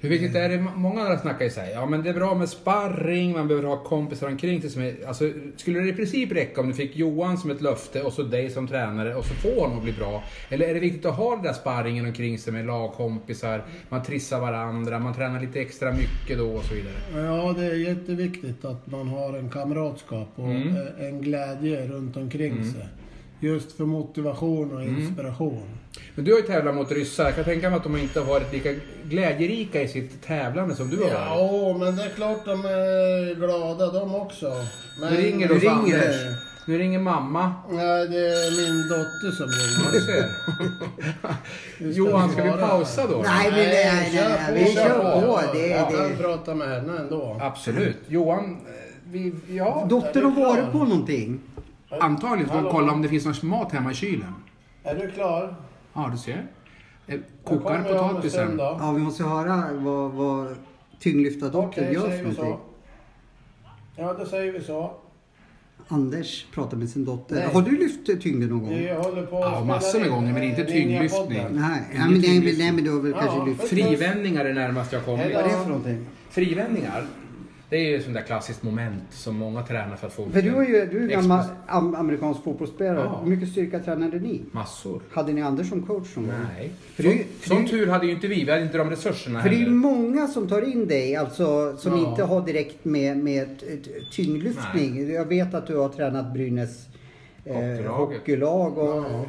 S1: Hur viktigt är det? Många andra snackar ju såhär, ja men det är bra med sparring, man behöver ha kompisar omkring sig. Som är, alltså, skulle det i princip räcka om du fick Johan som ett löfte och så dig som tränare och så får honom att bli bra? Eller är det viktigt att ha den där sparringen omkring sig med lagkompisar, man trissar varandra, man tränar lite extra mycket då och så vidare?
S3: Ja, det är jätteviktigt att man har en kamratskap och eh, en glädje runt omkring sig. Just för motivation och inspiration.
S1: Men du har ju tävlat mot ryssar, jag kan tänka mig att de inte har varit lika glädjerika i sitt tävlande som du har
S3: Ja,
S1: varit.
S3: åh, men det är klart de är glada de också. Men
S1: Nu ringer
S2: du
S1: då
S2: ringer.
S1: Anders. Nu ringer mamma.
S3: Nej, det är min dotter som
S1: Ja,
S3: ringer.
S1: du
S3: [LAUGHS]
S1: ser. [LAUGHS] Johan, ska vi pausa då?
S2: Nej, men nej, nej, nej, nej. Vi kör på. Det,
S3: jag kan
S2: det.
S3: prata med henne ändå.
S1: Absolut. Johan, eh, vi, ja.
S2: Dottern har varit på någonting.
S1: Antagligen får hon kolla om det finns någon mat hemma i kylen.
S3: Är du klar?
S1: Ja, du ser. Eh,
S3: Jag
S1: Kokar
S3: kommer om en stund
S1: potatisen.
S3: då.
S2: Ja, vi måste höra vad, vad tyngdlyftardottern
S3: Okej,
S2: gör för
S3: säger vi så.
S2: någonting.
S3: Ja, då säger vi så.
S2: Anders pratar med sin dotter.
S3: Nej.
S2: Har du lyft tyngden någon gång?
S3: Vi håller på
S1: Ja,
S3: och
S1: massor
S3: spelar
S1: med
S3: in,
S1: gånger, men
S3: eh,
S1: inte
S3: Ninjapodden.
S1: tyngdlyftning.
S2: Nej,
S1: Ingen
S2: ja, men, nej, men,
S1: tyngdlyftning.
S2: nej, men du har väl
S3: Ja,
S2: kanske lyft.
S3: för-
S1: Frivändningar är det närmaste jag
S3: Hej
S1: kommit.
S3: då.
S2: Vad är det för någonting?
S1: Frivändningar, det är ju sånt där klassiskt moment som många tränar för att få
S2: För du är ju du är ju
S1: Expos-
S2: gammal am, amerikansk fotbollsspelare.
S1: Ja.
S2: Hur mycket styrka tränade ni?
S1: Massor.
S2: Hade ni Anders som coach någon gång?
S1: Nej.
S2: För det är ju-
S1: Som tur hade ju inte vi, vi hade inte de resurserna
S2: För det är ju
S1: heller.
S2: många som tar in dig, alltså som
S3: Ja.
S2: inte har direkt med, med t- t- tyngdlyftning. Jag vet att du har tränat Brynäs eh,
S1: Hockeylaget.
S2: hockeylag. Och,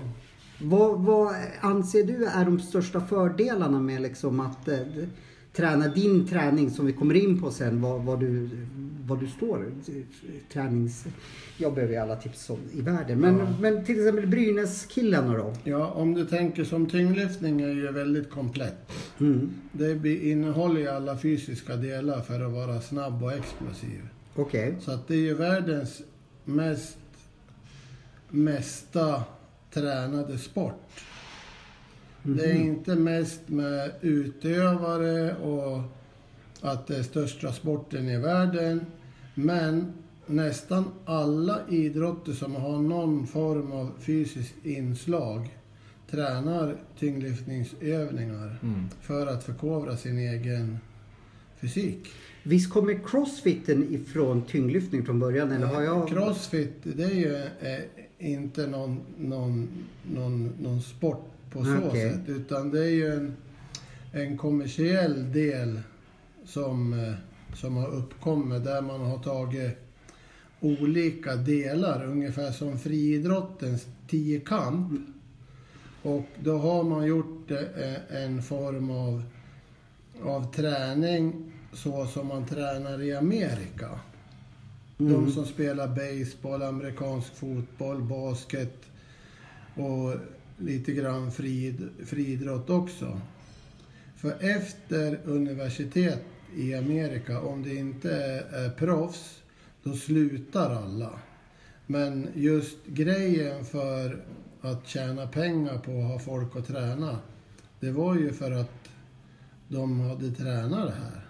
S2: vad, vad anser du är de största fördelarna med liksom att eh, träna din träning som vi kommer in på sen, vad, vad, du, vad du står? Tränings... Jag behöver ju alla tips som, i världen. Men, men till exempel Brynäs-killarna då?
S3: Ja, om du tänker som tyngdlyftning är ju väldigt komplett. Det be- innehåller ju alla fysiska delar för att vara snabb och explosiv.
S2: Okej.
S3: Så att det är ju världens mest mesta tränade sport. Det är inte mest med utövare och att det är största sporten i världen. Men nästan alla idrotter som har någon form av fysiskt inslag tränar tyngdlyftningsövningar för att förkovra sin egen fysik.
S2: Visst kommer crossfiten ifrån tyngdlyftning från början? Eller har jag...
S3: Crossfit, det är ju eh, inte någon, någon, någon, någon sport på så
S2: Okej.
S3: sätt, utan det är ju en, en kommersiell del som, eh, som har uppkommit där man har tagit olika delar, ungefär som friidrottens tiokamp. Och då har man gjort eh, en form av, av träning så som man tränar i Amerika. De som spelar baseball, amerikansk fotboll, basket och lite grann frid, friidrott också. För efter universitet i Amerika, om det inte är, är proffs, då slutar alla. Men just grejen för att tjäna pengar på att ha folk att träna, det var ju för att de hade tränat det här.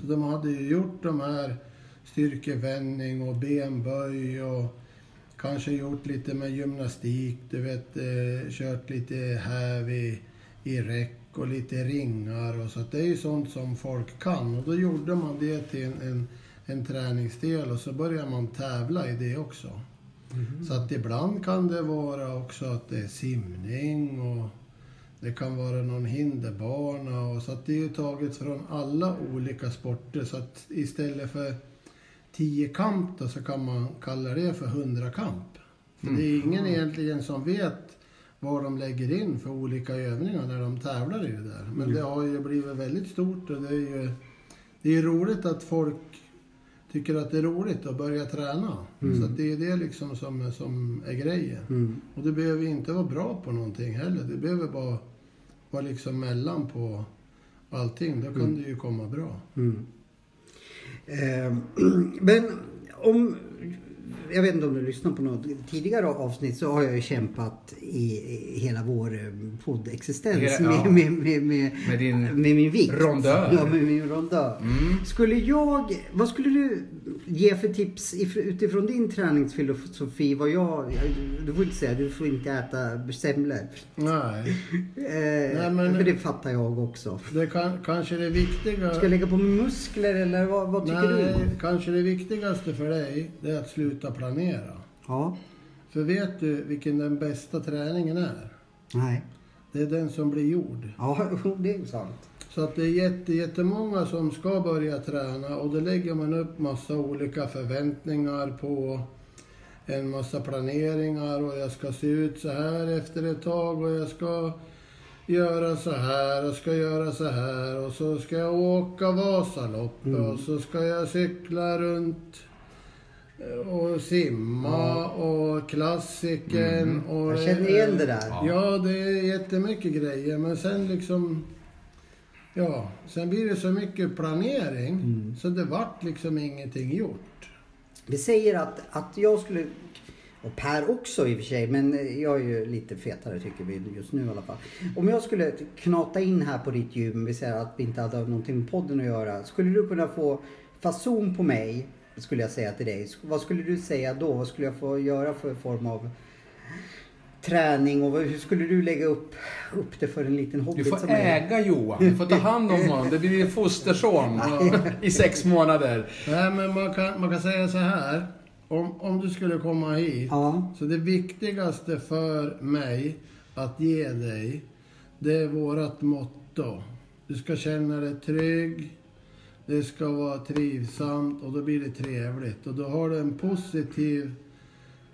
S3: Så de hade ju gjort de här styrkevändning och benböj och kanske gjort lite med gymnastik, du vet, eh, kört lite häv i, i räck och lite ringar och så att det är ju sånt som folk kan och då gjorde man det till en, en, en träningsdel och så började man tävla i det också. Så att ibland kan det vara också att det är simning och det kan vara någon hinderbana och så att det är ju taget från alla olika sporter så att istället för tiokamp då så kan man kalla det för hundrakamp. För det är ingen egentligen som vet vad de lägger in för olika övningar när de tävlar i det där. Men det har ju blivit väldigt stort och det är ju det är roligt att folk tycker att det är roligt att börja träna. Så att det är det liksom som, som är grejen.
S2: Mm.
S3: Och du behöver inte vara bra på någonting heller. Du behöver bara vara liksom mellan på allting. Då kan
S2: Mm.
S3: du ju komma bra.
S2: Eh, mm. [CLEARS THROAT] Men om... Jag vet inte om du lyssnat på något tidigare avsnitt så har jag ju kämpat i i hela vår eh, poddexistens
S1: Hela- ja.
S2: med, med, med, med,
S1: Med din
S2: med min vikt.
S1: rondör. Mm.
S2: Ja, med min rondör. Skulle jag... Vad skulle du ge för tips if- utifrån din träningsfilosofi? Vad jag... Du får inte säga, du får inte äta semlor.
S3: Nej,
S2: Eh,
S3: men-
S2: För det fattar jag också.
S3: det kan, kanske det viktiga...
S2: Ska jag lägga på mig muskler eller vad, vad tycker
S3: Nej,
S2: du?
S3: kanske det viktigaste för dig, det är att sluta planera.
S2: Ja.
S3: För vet du vilken den bästa träningen är?
S2: Nej.
S3: Det är den som blir gjord.
S2: Ja, [LAUGHS] det är ju sant.
S3: Så att det är jätte, jättemånga som ska börja träna och då lägger man upp massa olika förväntningar på en massa planeringar och jag ska se ut så här efter ett tag och jag ska göra så här och ska göra så här och så ska jag åka Vasaloppet
S2: Mm.
S3: och så ska jag cykla runt eh, och simma och klassiken och...
S2: Mm. Jag känner igen det där.
S1: Ja.
S3: Ja, det är jättemycket grejer, men sen liksom... Ja, sen blir det så mycket planering
S2: Mm.
S3: så det vart liksom ingenting gjort.
S2: Vi säger att, att jag skulle, och Per också i och för sig, men jag är ju lite fetare tycker vi just nu i alla fall. Om jag skulle knata in här på ditt gym, vi säger att vi inte hade någonting med podden att göra. Skulle du kunna få fason på mig, skulle jag säga till dig. Sk- Vad skulle du säga då? Vad skulle jag få göra för form av träning och vad- hur skulle du lägga upp, upp det för en liten
S1: Du
S2: hobbit
S1: får
S2: som jag?
S1: äga Johan. Du får ta hand om honom. Det blir din
S2: [LAUGHS]
S1: fosterson i sex månader.
S3: Nej, men man kan, man kan säga så här. Om, om du skulle komma hit,
S2: Ja.
S3: så det viktigaste för mig att ge dig, det är vårat motto. Du ska känna dig trygg, det ska vara trivsamt och då blir det trevligt. Och då har du en positiv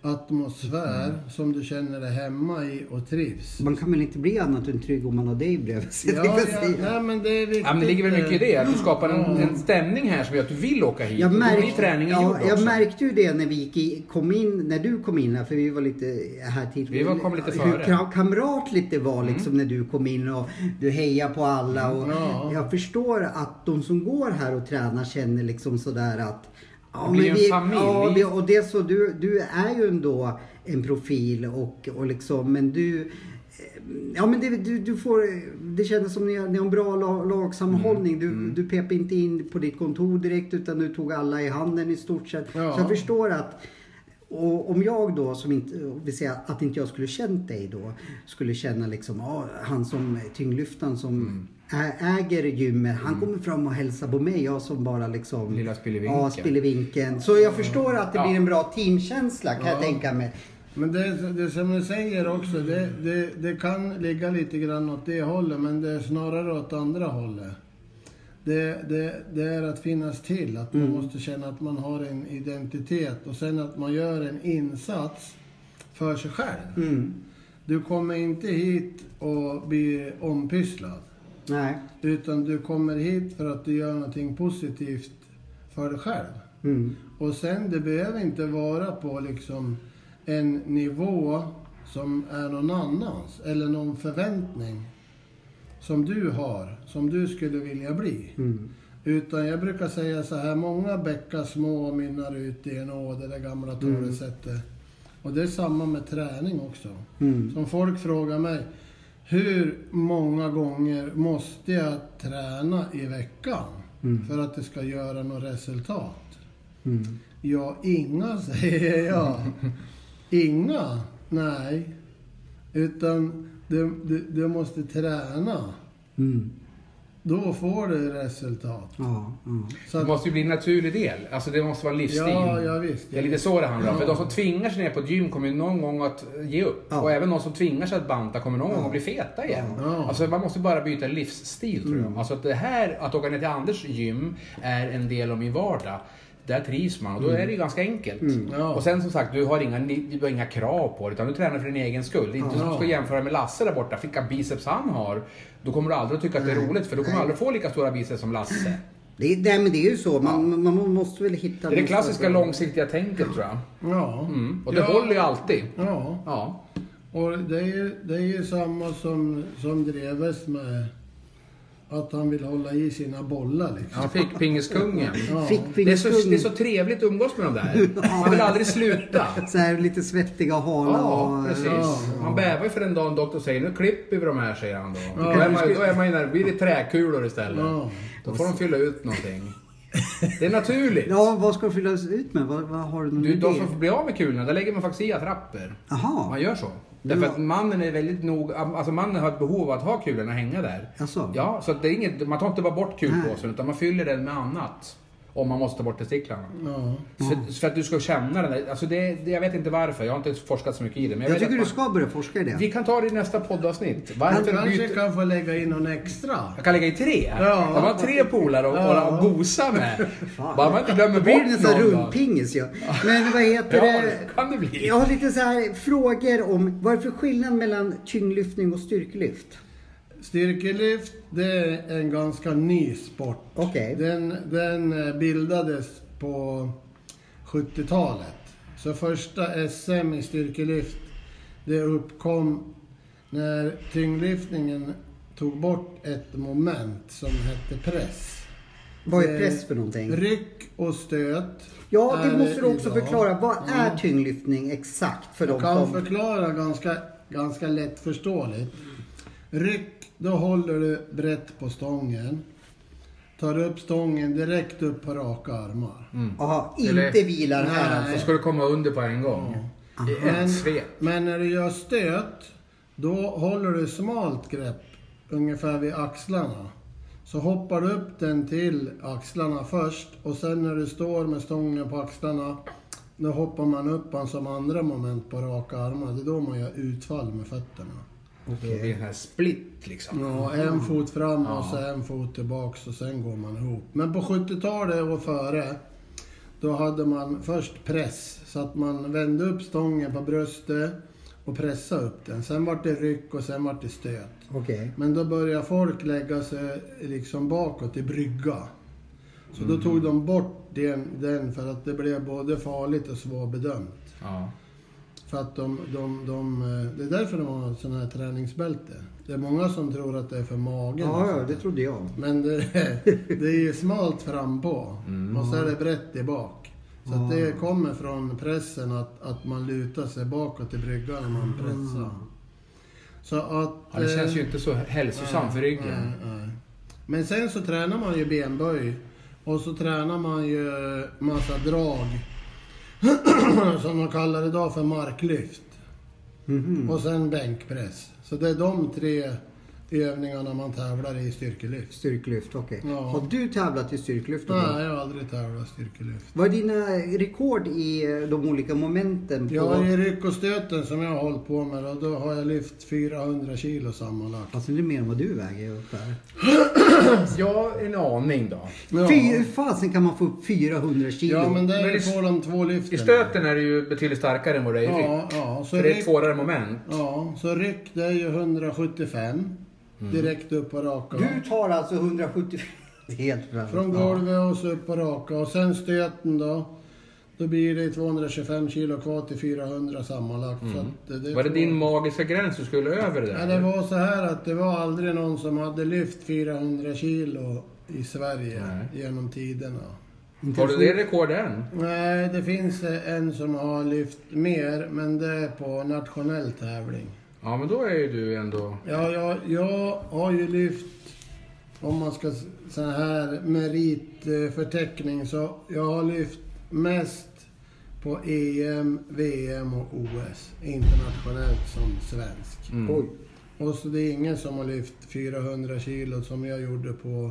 S3: atmosfär som du känner dig hemma i och trivs.
S2: Man kan väl inte bli annat än trygg om man har dig bredvid sig?
S3: Ja,
S2: tänkte jag
S3: ja,
S2: säga.
S3: nej, men det är viktigt.
S1: Ja, men det ligger väl mycket i det. Att du skapar en,
S3: Ja.
S1: en stämning här som gör att du vill åka hit. Och Då blir träningen gjord
S2: ja,
S1: också.
S2: jag märkte ju det när vi gick i, kom in, när du kom in här, för vi var lite här tidigare.
S1: Vi var- kom lite
S2: Hur
S1: före. Mm.
S2: kam- kamratligt det var liksom när du kom in och du hejar på alla. Och
S3: Ja.
S2: Jag förstår att de som går här och tränar känner liksom sådär att Ja,
S1: Det blir en familj.
S2: ja, vi, och det är så, du, du är ju ändå en profil och, och liksom, men du Ja men det, du, du får, det kändes som ni har, ni har en bra lag, lagsammanhållning. Du, du pep inte in på ditt kontor direkt utan du tog alla i handen i stort sett.
S3: Ja.
S2: Så jag förstår att och om jag då, som inte, vill säga att inte jag skulle känt dig då, skulle känna liksom, ah, han som tyngdlyftaren som ä- äger gymmet, han kommer fram och hälsar på mig, jag som bara liksom...
S1: Lilla spillevinken.
S2: Ja, spillevinken. Så jag förstår att det
S1: Ja.
S2: blir en bra teamkänsla kan jag tänka mig.
S3: Men det, det som du säger också, det, det, det kan ligga lite grann åt det hållet, men det är snarare åt andra hållet. Det, det, det är att finnas till, att man måste känna att man har en identitet och sen att man gör en insats för sig själv.
S2: Mm.
S3: Du kommer inte hit och blir ompysslad,
S2: Nej.
S3: utan du kommer hit för att du gör någonting positivt för dig själv.
S2: Mm.
S3: Och sen, det behöver inte vara på liksom en nivå som är någon annans eller någon förväntning som du har, som du skulle vilja bli.
S2: Mm.
S3: Utan jag brukar säga så här, många bäckar små mynnar ut i en å, det där gamla talesättet. Och det är samma med träning också.
S2: Mm.
S3: Som folk frågar mig, hur många gånger måste jag träna i veckan för att det ska göra något resultat?
S2: Mm.
S3: Ja, inga säger jag. Inga? Nej. Utan du, du, du måste träna.
S2: Mm.
S3: Då får du resultat.
S2: Ja, ja.
S3: Så
S1: Det
S3: att,
S1: måste ju bli en naturlig del. Alltså det måste vara livsstil.
S3: ja, ja, visst.
S1: Det är lite så det handlar om. För de som tvingar sig ner på ett gym kommer ju någon gång att ge upp.
S2: Ja.
S1: Och även de som tvingar sig att banta kommer någon gång att bli feta igen.
S3: Ja. Mm.
S1: Alltså man måste bara byta livsstil tror jag. Alltså att det här, att åka ner till Anders gym är en del av min vardag. Där trivs man och då är det ju ganska enkelt.
S3: Mm. Ja.
S1: Och sen som sagt, du har, inga, du har inga krav på det utan du tränar för din egen skull. Det är inte som du ska jämföra med Lasse där borta, vilka biceps han har. Då kommer du aldrig att tycka att det är roligt för du kommer aldrig få lika stora biceps som Lasse.
S2: Det, är- nej men det är ju så, man, man måste väl hitta...
S1: Det är det
S2: någon
S1: klassiska
S2: sorts-
S1: långsiktiga tänket tror jag.
S3: Ja.
S1: Mm. Och det
S3: ja.
S1: håller ju alltid.
S3: Ja.
S1: Ja.
S3: Och det är ju, det är ju samma som, som Dreves med att han vill hålla i sina bollar liksom.
S1: Han fick pingeskungen.
S2: Fick
S1: Det är, så,
S2: fingerskung.
S1: det är så trevligt att umgås med de där. Han vill aldrig sluta.
S2: Så här lite svettiga och hala
S1: Ja,
S2: och...
S1: precis. Man bävar ju för den dagen doktorn säger nu klipper vi de här, säger han då. Då
S3: Ja.
S1: är man, då är man ju där, blir det träkulor istället.
S3: Ja.
S1: Då får de fylla ut någonting. Det är naturligt.
S2: Ja, vad ska det fyllas ut med? Vad, vad har du någon
S1: Du,
S2: idé?
S1: de som blir av med kulorna, där lägger man faktiskt i attrapper.
S2: Jaha.
S1: Man gör så. Därför att mannen är väldigt nog, alltså mannen har ett behov av att ha kulorna och hänga där.
S2: Jaså?
S1: Ja, så att det är inget, man tar inte bara bort kulpåsen utan man fyller den med annat. Om man måste ta bort testiklarna.
S3: Ja.
S1: Så, så för att du ska känna den där, alltså det, det, jag vet inte varför, jag har inte forskat så mycket i det. Men jag
S2: Jag
S1: vet
S2: tycker
S1: att
S2: du
S1: man,
S2: ska börja forska i det.
S1: Vi kan ta det i nästa poddavsnitt.
S3: Han
S1: Varför
S3: kanske
S1: byter...
S3: kan få lägga in någon extra.
S1: Jag kan lägga i tre.
S3: Ja.
S1: Man har tre polare och,
S3: Ja.
S1: och gosa med.
S2: Fan.
S1: Bara man inte glömmer
S2: Det
S1: bort
S2: blir ju nästan
S1: någon. då.
S2: rundpingis ja. Men vad heter
S1: Ja,
S2: det?
S1: det kan det bli.
S2: Jag har lite så här frågor om vad är för skillnad mellan tyngdlyftning och styrkelyft?
S3: Styrkelyft, det är en ganska ny sport.
S2: Okej.
S3: Den, den eh, bildades på 70-talet. Så första SM i styrkelyft, det uppkom när tyngdlyftningen tog bort ett moment som hette press.
S2: Vad är
S3: Eh,
S2: press för någonting?
S3: Ryck och stöt.
S2: Ja,
S3: är
S2: det måste du också
S3: idag.
S2: förklara. Vad är tyngdlyftning exakt för de
S3: Mm. Jag kan
S2: som...
S3: förklara ganska, ganska lättförståeligt. Ryck, då håller du brett på stången. Tar upp stången direkt upp på raka armar.
S2: Mm. Jaha,
S1: Eller-
S2: inte vilar här
S3: Nej.
S1: Så
S2: alltså.
S1: ska du komma under på en gång. I ett Mm. svep.
S3: men när du gör stöt, då håller du smalt grepp ungefär vid axlarna. Så hoppar du upp den till axlarna först och sen när du står med stången på axlarna, då hoppar man upp den som andra moment på raka armar. Det är då man gör utfall med fötterna.
S1: Det blir en här split liksom.
S3: Ja, en fot fram och så en fot tillbaks och sen går man ihop. Men på 70-talet och före, då hade man först press. Så att man vände upp stången på bröstet och pressade upp den. Sen vart det ryck och sen vart det stöt.
S2: Okej.
S3: Men då började folk lägga sig liksom bakåt i brygga. Så då tog de bort den, den för att det blev både farligt och svårbedömt.
S1: Ja.
S3: För att de, de, de, eh, det är därför de har sådana här träningsbälte. Det är många som tror att det är för magen. och
S2: Ja, ja,
S3: sånt
S2: det
S3: där.
S2: trodde jag.
S3: Men det, [LAUGHS] det är ju smalt fram på
S1: Mm.
S3: och så är det brett i bak. Så att det kommer
S2: Mm.
S3: från pressen att, att man lutar sig bakåt i bryggan när man pressar. Så att...
S1: Ja, det känns ju
S3: eh, mm.
S1: inte så hälsosamt för ryggen.
S3: Nej, nej. Men sen så tränar man ju benböj och så tränar man ju massa drag. [CLEARS THROAT] som de kallar det idag för marklyft.
S1: Mhm.
S3: Och sen bänkpress. Så det är de tre övningarna man tävlar i i styrkelyft.
S2: Styrklyft, okej.
S3: Ja.
S2: Har du tävlat i styrklyft? då?
S3: Nej, jag har aldrig tävlat i styrkelyft.
S2: Vad är dina rekord i eh, de olika momenten? På...
S3: Ja, i ryck och stöten som jag har hållit på med då, då har jag lyft 400 kilo sammanlagt.
S2: Fast det är mer än vad du väger ungefär.
S1: Ja, en aning då.
S3: Ja.
S2: Fy, hur fasen kan man få upp 400 kilo?
S3: Ja, men det
S1: Men
S3: är ju
S1: det-
S3: på de två lyften.
S1: I stöten är det ju betydligt starkare än vad det är i rygg.
S3: Ja, ja. Så
S1: För det är
S3: ryck
S1: ett svårare moment.
S3: Ja, så ryck det är ju 175. Direkt upp på raka.
S2: Du tar alltså 170... Det är helt bra.
S3: Från golvet och så upp på raka. Och sen stöten då. Då blir det 225 kilo kvar till 400 sammanlagt. Så att
S1: Mm. Var det din magiska gräns du skulle över det
S3: Ja,
S1: där?
S3: det var så här att det var aldrig någon som hade lyft 400 kilo i Sverige
S1: Nej.
S3: genom tiderna.
S1: Har du det rekordet än?
S3: Nej, det finns eh, en som har lyft mer, men det är på nationell tävling.
S1: Ja, men då är ju du ändå...
S3: Ja, jag, jag har ju lyft, om man ska s- så här meritförteckning, så jag har lyft mest på E EM, VM och OS. Internationellt som svensk.
S1: mm.
S2: Oj.
S3: Och så det är ingen som har lyft 400 kilo som jag gjorde på
S1: Men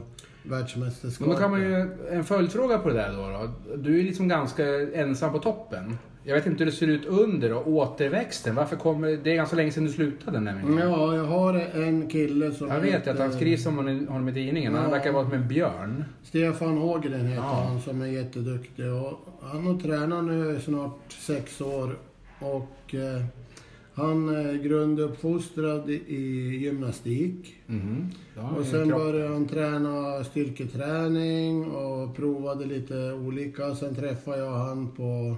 S1: då
S3: världsmästerskapet.
S1: kan man ju... En följdfråga på det där då, då. Du är liksom ganska ensam på toppen. Jag vet inte hur det ser ut under och återväxten. Varför kommer... Det är ganska länge sedan du slutade nämligen.
S3: Ja, jag har en kille som
S1: Jag vet ju att han
S3: heter-
S1: skrivs om honom i- honom i tidningen. Han
S3: Ja.
S1: verkar vara som en björn.
S3: Stefan Hågren heter
S1: Ja.
S3: han som är jätteduktig. Och han har tränat nu i snart sex år och eh, han är grunduppfostrad i- i gymnastik.
S1: Mhm.
S2: Mm-hmm.
S1: Ja,
S3: Och
S1: kropp-
S3: sen började han träna styrketräning och provade lite olika. Sen träffade jag han på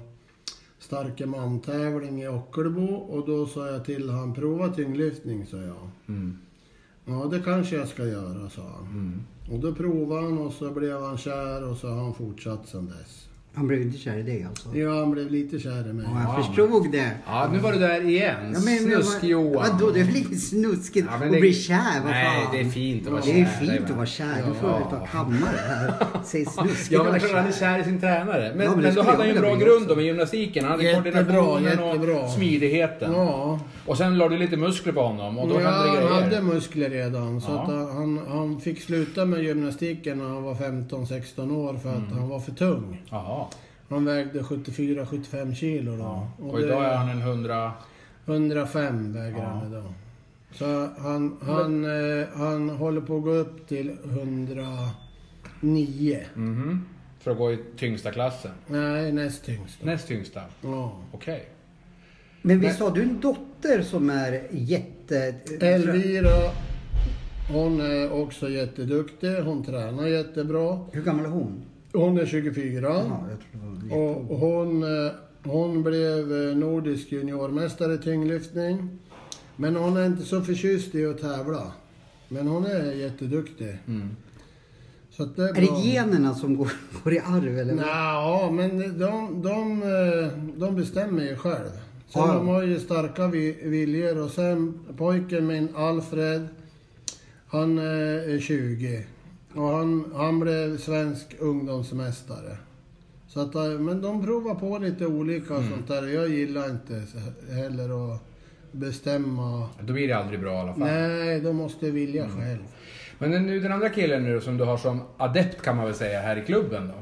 S3: Starke man-tävling i Ockelbo och då sa jag till han, prova tyngdlyftning, sa jag.
S1: Mm.
S3: Ja, det kanske jag ska göra, sa han. Och då provade han och så blev han kär och så har han fortsatt sedan dess.
S2: Han blev inte kär i dig alltså?
S3: Ja, han blev lite kär i mig.
S2: Ja,
S1: Ja,
S2: jag förstod det.
S1: Ja, nu var du där igen.
S2: Ja, men- men-
S1: Snusk-Johan.
S2: Vadå, det är väl inget snuskigt
S1: Ja, men
S2: att
S1: det-
S2: bli kär? Vad
S1: Nej,
S2: fan?
S1: det är fint att vara
S2: Det är ju
S1: kär, det är
S2: fint
S1: väl-
S2: att vara kär. Nu får
S1: Ja.
S2: du ta kammare här. Säg snuskigt
S1: Ja, men det
S2: att vara
S1: är klart han är
S2: kär.
S1: kär i sin tränare. Men,
S2: Ja, men
S1: men,
S2: det
S1: då
S2: skulle
S1: hade han
S2: jag
S1: ju en bra
S2: vilja bli
S1: grund
S2: också.
S1: då med gymnastiken. Han hade
S3: Jättebra,
S1: koordinationen
S3: jättebra.
S1: och smidigheten.
S3: Ja.
S1: Och sen la du lite muskler på honom och då
S3: ja,
S1: hände det
S3: han
S1: grejer.
S3: hade muskler redan. Så
S1: Ja.
S3: att han- han, han fick sluta med gymnastiken när han var 15-16 år för att
S1: Mm.
S3: han var för tung.
S1: Jaha.
S3: Han vägde 74-75 kilo då.
S1: Och,
S3: det-
S1: idag är han en 100...
S3: 105 väger han idag. Så han, han, eh, han håller på att gå upp till 109.
S1: Mhm. För att gå i tyngsta klassen.
S3: Nej, näst tyngst. då.
S1: Näst tyngsta.
S3: Ja.
S1: Okej.
S2: Men visst har du en dotter som är jätte...
S3: Elvira, hon är också jätteduktig. Hon tränar jättebra.
S2: Hur gammal är hon?
S3: Hon är 24.
S2: Ja, jag tror hon är
S3: Och och hon, eh, hon blev eh, nordisk juniormästare i tyngdlyftning. Men hon är inte så förtjust i att tävla. Men hon är jätteduktig. Så att det är,
S2: Mm. Är
S3: bra.
S2: det generna som går, [LAUGHS] går i arv eller? vad?
S3: Nja, men de, de, eh, de bestämmer ju själv. Sen
S2: Ja.
S3: de har ju starka vi- viljor och sen pojken min, Alfred, han eh, är 20. Och han, han blev svensk ungdomsmästare. Så att, eh, men de provar på lite olika och sånt där. Jag gillar inte så- heller att bestämma.
S1: Då blir det aldrig bra i alla fall.
S3: Nej, de måste vilja själv.
S1: Men den- nu den andra killen nu då, som du har som adept kan man väl säga här i klubben då.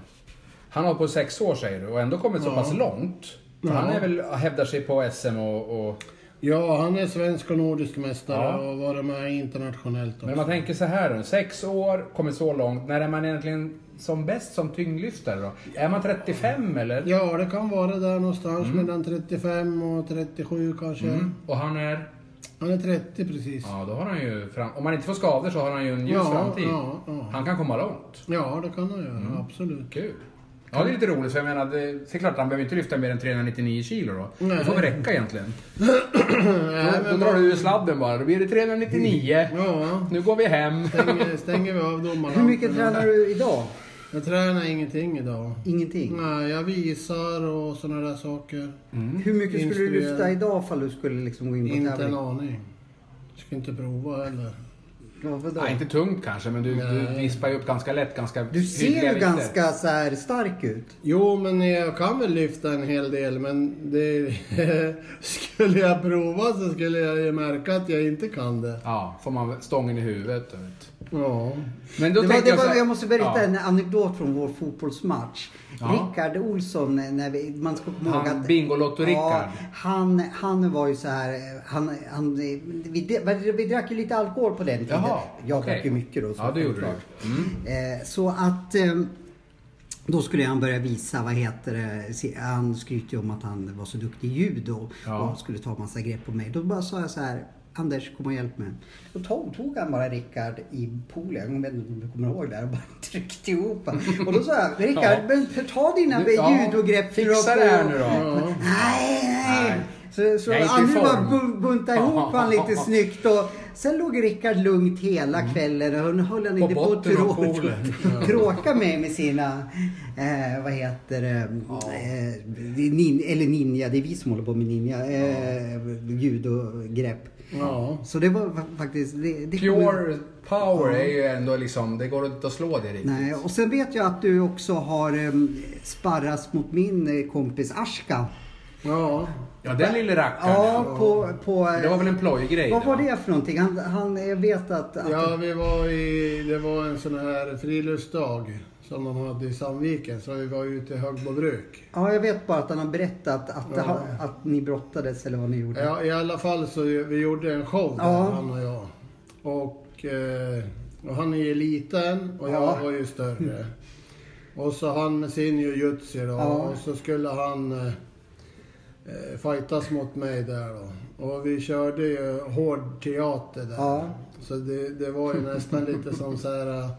S1: Han har på sex år säger du och ändå kommit så pass långt. För Han är väl, hävdar sig på SM och... och
S3: Ja, han är svensk och nordisk mästare
S1: Ja.
S3: och varit med internationellt också.
S1: men man tänker så här då. Sex år, kommit så långt. När är man egentligen som bäst som tyngdlyftare då? Är man 35 eller?
S3: Ja, det kan vara där någonstans mellan 35 och 37 kanske.
S1: Och han är...
S3: Han är 30 precis. Ja.
S1: Mm. Ja, då har han ju... Fram, om man inte får skador så har han ju en ljus
S3: Ja,
S1: framtid.
S3: ja, ja.
S1: Han kan komma långt.
S3: det kan han göra. Absolut.
S1: Kul. Ja, det är lite roligt för jag menar, det, det är klart han behöver inte lyfta mer än 399 kilo då. Det
S3: Nej.
S1: får väl räcka
S2: [CLEARS THROAT]
S1: egentligen.
S3: Nej,
S1: Då, då
S3: men
S1: drar du ur sladden bara. Då blir det 399.
S3: Ja,
S1: Nu går vi hem.
S3: stänger, stänger vi av domarna.
S2: Hur mycket tränar du idag?
S3: Jag tränar ingenting idag.
S2: Ingenting.
S3: Nej, jag visar och sådana där saker.
S1: Mm.
S2: Hur mycket skulle du
S3: Instruerar.
S2: lyfta idag ifall du skulle liksom gå in på
S3: Inte en
S2: tävling?
S3: aning. Ska inte prova heller.
S2: Varför då?
S1: Nej, inte tungt kanske, men du, du
S3: Nej.
S1: vispar ju upp ganska lätt. Ganska
S2: Du ser
S1: hyggliga
S2: ju
S1: vikter.
S2: ganska så här stark ut.
S3: Jo, men jag kan väl lyfta en hel del, men det... [LAUGHS] skulle jag prova så skulle jag ju märka att jag inte kan det.
S1: Ja, får man stången i huvudet. du Vet.
S3: Ja.
S1: Men då
S2: Det var,
S1: tänkte
S2: det
S1: så
S2: var,
S1: här-
S2: jag måste berätta
S1: Ja.
S2: en anekdot från vår fotbollsmatch.
S1: Ja.
S2: Rickard Olsson, eh, när vi, man ska komma ihåg
S1: Han
S2: att...
S1: Bingolotto-Rickard.
S2: han, han var ju så här, eh, han, han, eh, vi, vi, vi drack ju lite alkohol på den tiden.
S1: Jaha,
S2: jag
S1: okej.
S2: drack ju mycket då. så
S1: Ja, det gjorde
S2: självklart.
S1: du. Mm.
S2: Eh, Så att eh, då skulle han börja visa, vad heter det, se- han skryter ju om att han var så duktig i judo
S1: Ja.
S2: och skulle ta massa grepp på mig. Då bara sa jag så här, Anders kom och hjälp mig. Då tog, tog han bara Rickard i poolen, jag vet inte om du kommer ihåg det här, och bara [LAUGHS] tryckte ihop honom. Och då sa
S1: [LAUGHS]
S2: jag, Rickard,
S1: Ja.
S2: men ta dina
S1: Du- ja,
S2: judogrepp. fyll
S1: fixa
S2: upp
S1: det här
S2: och-
S1: nu då.
S3: Ja.
S2: [LAUGHS] Nej, nej.
S1: Nej.
S2: Så, så
S1: Jag är inte i
S2: Anders
S1: form.
S2: bara bu- buntade ihop
S1: [LAUGHS]
S2: han lite snyggt och sen låg Rickard lugnt hela
S1: Mm.
S2: kvällen och hon höll han
S1: På
S2: inte på att
S1: botten av
S2: tråka,
S1: poolen.
S2: [LAUGHS] tråka mig med sina, eh, vad heter det, eh, nin, eller ninja, det är vi som håller på med ninja, eh, judogrepp.
S3: Ja.
S2: Så det var fa- faktiskt... Det, det
S1: Pure power är ju ändå liksom, det går inte att slå det riktigt.
S2: Nej, och sen vet jag att du också har eh, sparras mot min eh, kompis Ashka.
S3: Ja.
S1: Ja, den lille rackaren.
S2: Ja, på... på eh,
S1: Det var väl en plojgrej?
S2: Vad var
S1: va?
S2: det för någonting? Han, han jag vet att... att
S3: Ja, vi var i, det var en sån här friluftsdag som de hade i Sandviken, så vi var ute i Högbobruk.
S2: Ja, jag vet bara att han har berättat att,
S3: Ja.
S2: att, att ni brottades eller vad ni gjorde.
S3: Ja, I alla fall så vi gjorde en show där,
S2: Ja.
S3: han och jag. Och, eh, och han är ju liten och
S2: Ja.
S3: jag var ju större. Och så han med sin jujutsu då,
S2: Ja.
S3: och så skulle han eh, eh, fightas mot mig där då. Och vi körde ju hård teater där.
S2: Ja.
S3: Så det, det var ju nästan lite som så här eh,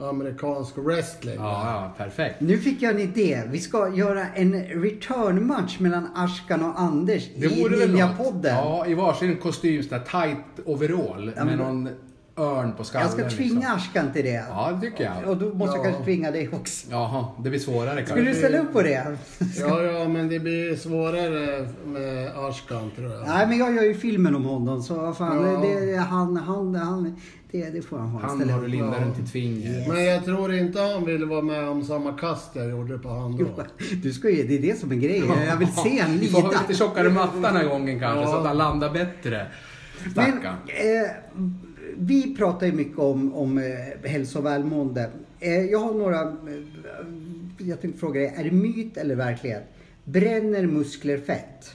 S3: amerikansk wrestling.
S1: Ja, ja, perfekt.
S2: Nu fick jag en idé. Vi ska göra en return-match mellan Ashkan och Anders
S1: Det
S2: i
S1: vore väl något.
S2: Ninja-podden.
S1: Ja, i varsin kostym, sån där tight overall
S2: Ja,
S1: med
S2: men-
S1: någon örn på skallen.
S2: jag ska tvinga
S1: Liksom.
S2: Ashkan till det.
S1: Ja, det tycker jag.
S2: Och då måste jag
S3: Ja.
S2: kanske tvinga dig också.
S1: Jaha, det blir svårare
S2: Skulle du
S1: kanske.
S2: ställa upp på det?
S3: Ja, ja, men det blir svårare med Ashkan tror jag.
S2: Nej, men jag gör ju filmen om honom så vad fan,
S3: Ja.
S2: det, han, han, han, det, det får han ha.
S1: Han
S2: Ställa
S1: har
S2: upp.
S1: du lindat
S3: Ja.
S1: runt i tvinget.
S3: Men jag tror inte han ville vara med om samma kast jag gjorde på han då.
S2: [LAUGHS] Du ska ju, det är det som är grejen. Jag vill se en
S1: [LAUGHS] Vi får ha
S2: lida.
S1: lite tjockare matta den här gången kanske, så att han landar bättre.
S2: Men,
S1: Stackarn.
S2: eh, vi pratar ju mycket om, om eh, hälsa och välmående. Eh, jag har några, eh, jag tänkte fråga dig, är det myt eller verklighet? Bränner muskler fett?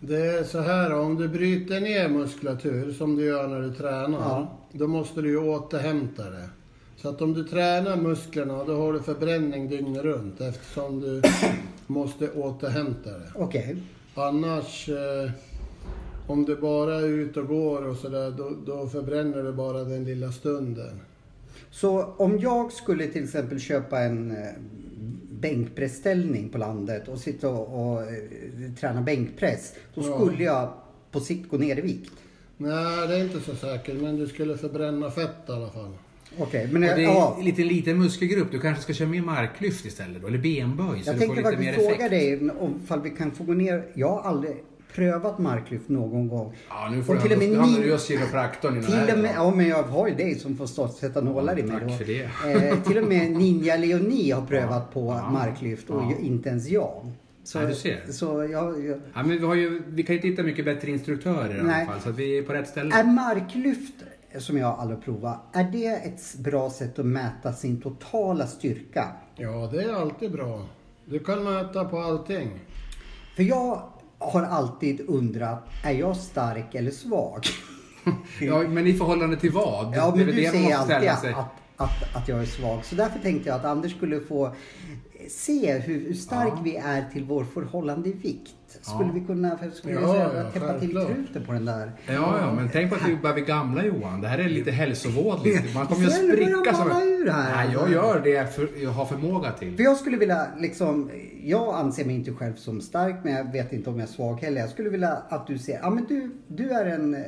S3: Det är så här, om du bryter ner muskulatur som du gör när du tränar,
S2: Ja.
S3: då måste du ju återhämta det. Så att om du tränar musklerna, då har du förbränning dygnet runt eftersom du måste återhämta det.
S2: Okej.
S3: Annars, eh, om du bara är ute och går och sådär, då, då förbränner du bara den lilla stunden.
S2: Så om jag skulle till exempel köpa en eh, bänkpressställning på landet och sitta och, och eh, träna bänkpress, då
S3: Ja.
S2: skulle jag på sikt gå ner i vikt.
S3: Nej, det är inte så säkert, men du skulle förbränna fett i alla fall.
S2: Okej, men
S1: Och
S2: jag,
S1: det
S2: ja.
S1: är en liten, liten muskelgrupp. Du kanske ska köra mer marklyft istället då, eller benböj. Så
S2: Jag
S1: du får
S2: tänkte
S1: lite mer
S2: faktiskt fråga
S1: effekt.
S2: dig om ifall vi kan få gå ner. Jag har aldrig prövat marklyft någon gång.
S1: Ja, nu får
S2: och
S1: du
S2: till och med
S1: ändå- nu hamnar
S2: ni-
S1: du hos kiropraktorn innan det
S2: Till
S1: här
S2: och med,
S1: idag.
S2: ja, men jag har ju dig som får stå- sätta nålar i mig.
S1: Tack
S2: då.
S1: för det.
S2: Eh, till och med Ninja Leonie har prövat på marklyft och
S1: Ja.
S2: ju- inte ens jag. Så,
S1: Ja, du ser.
S2: så jag, jag,
S1: Ja, men vi, har ju, vi kan ju inte hitta mycket bättre instruktörer i
S2: Nej.
S1: alla fall, så att vi är på rätt ställe.
S2: är marklyft, som jag aldrig har provat, är det ett bra sätt att mäta sin totala styrka?
S3: Ja, det är alltid bra. Du kan mäta på allting.
S2: För jag har alltid undrat, är jag stark eller svag?
S1: Ja, men i förhållande till vad?
S2: Ja, men
S1: väl
S2: du
S1: man
S2: säger
S1: måste
S2: alltid
S1: ställa
S2: att, att, att, att jag är svag. Så därför tänkte jag att Anders skulle få se hur, hur stark vi är till vår förhållande vikt. Skulle vi kunna skulle jag
S3: Ja,
S2: säga,
S3: ja,
S2: täppa till
S3: självklart.
S2: truten på den där?
S1: Ja, ja, men tänk på att du börjar bli gamla Johan. Det här är lite hälsovådligt. Man kommer ju att
S2: Ser du hur
S1: spricka.
S2: han ballar ur här?
S1: Nej, jag gör det jag, för, jag har förmåga
S2: För
S1: till.
S2: jag skulle vilja, liksom, jag anser mig inte själv som stark men jag vet inte om jag är svag heller. Jag skulle vilja att du ser, ja men du, du är en eh,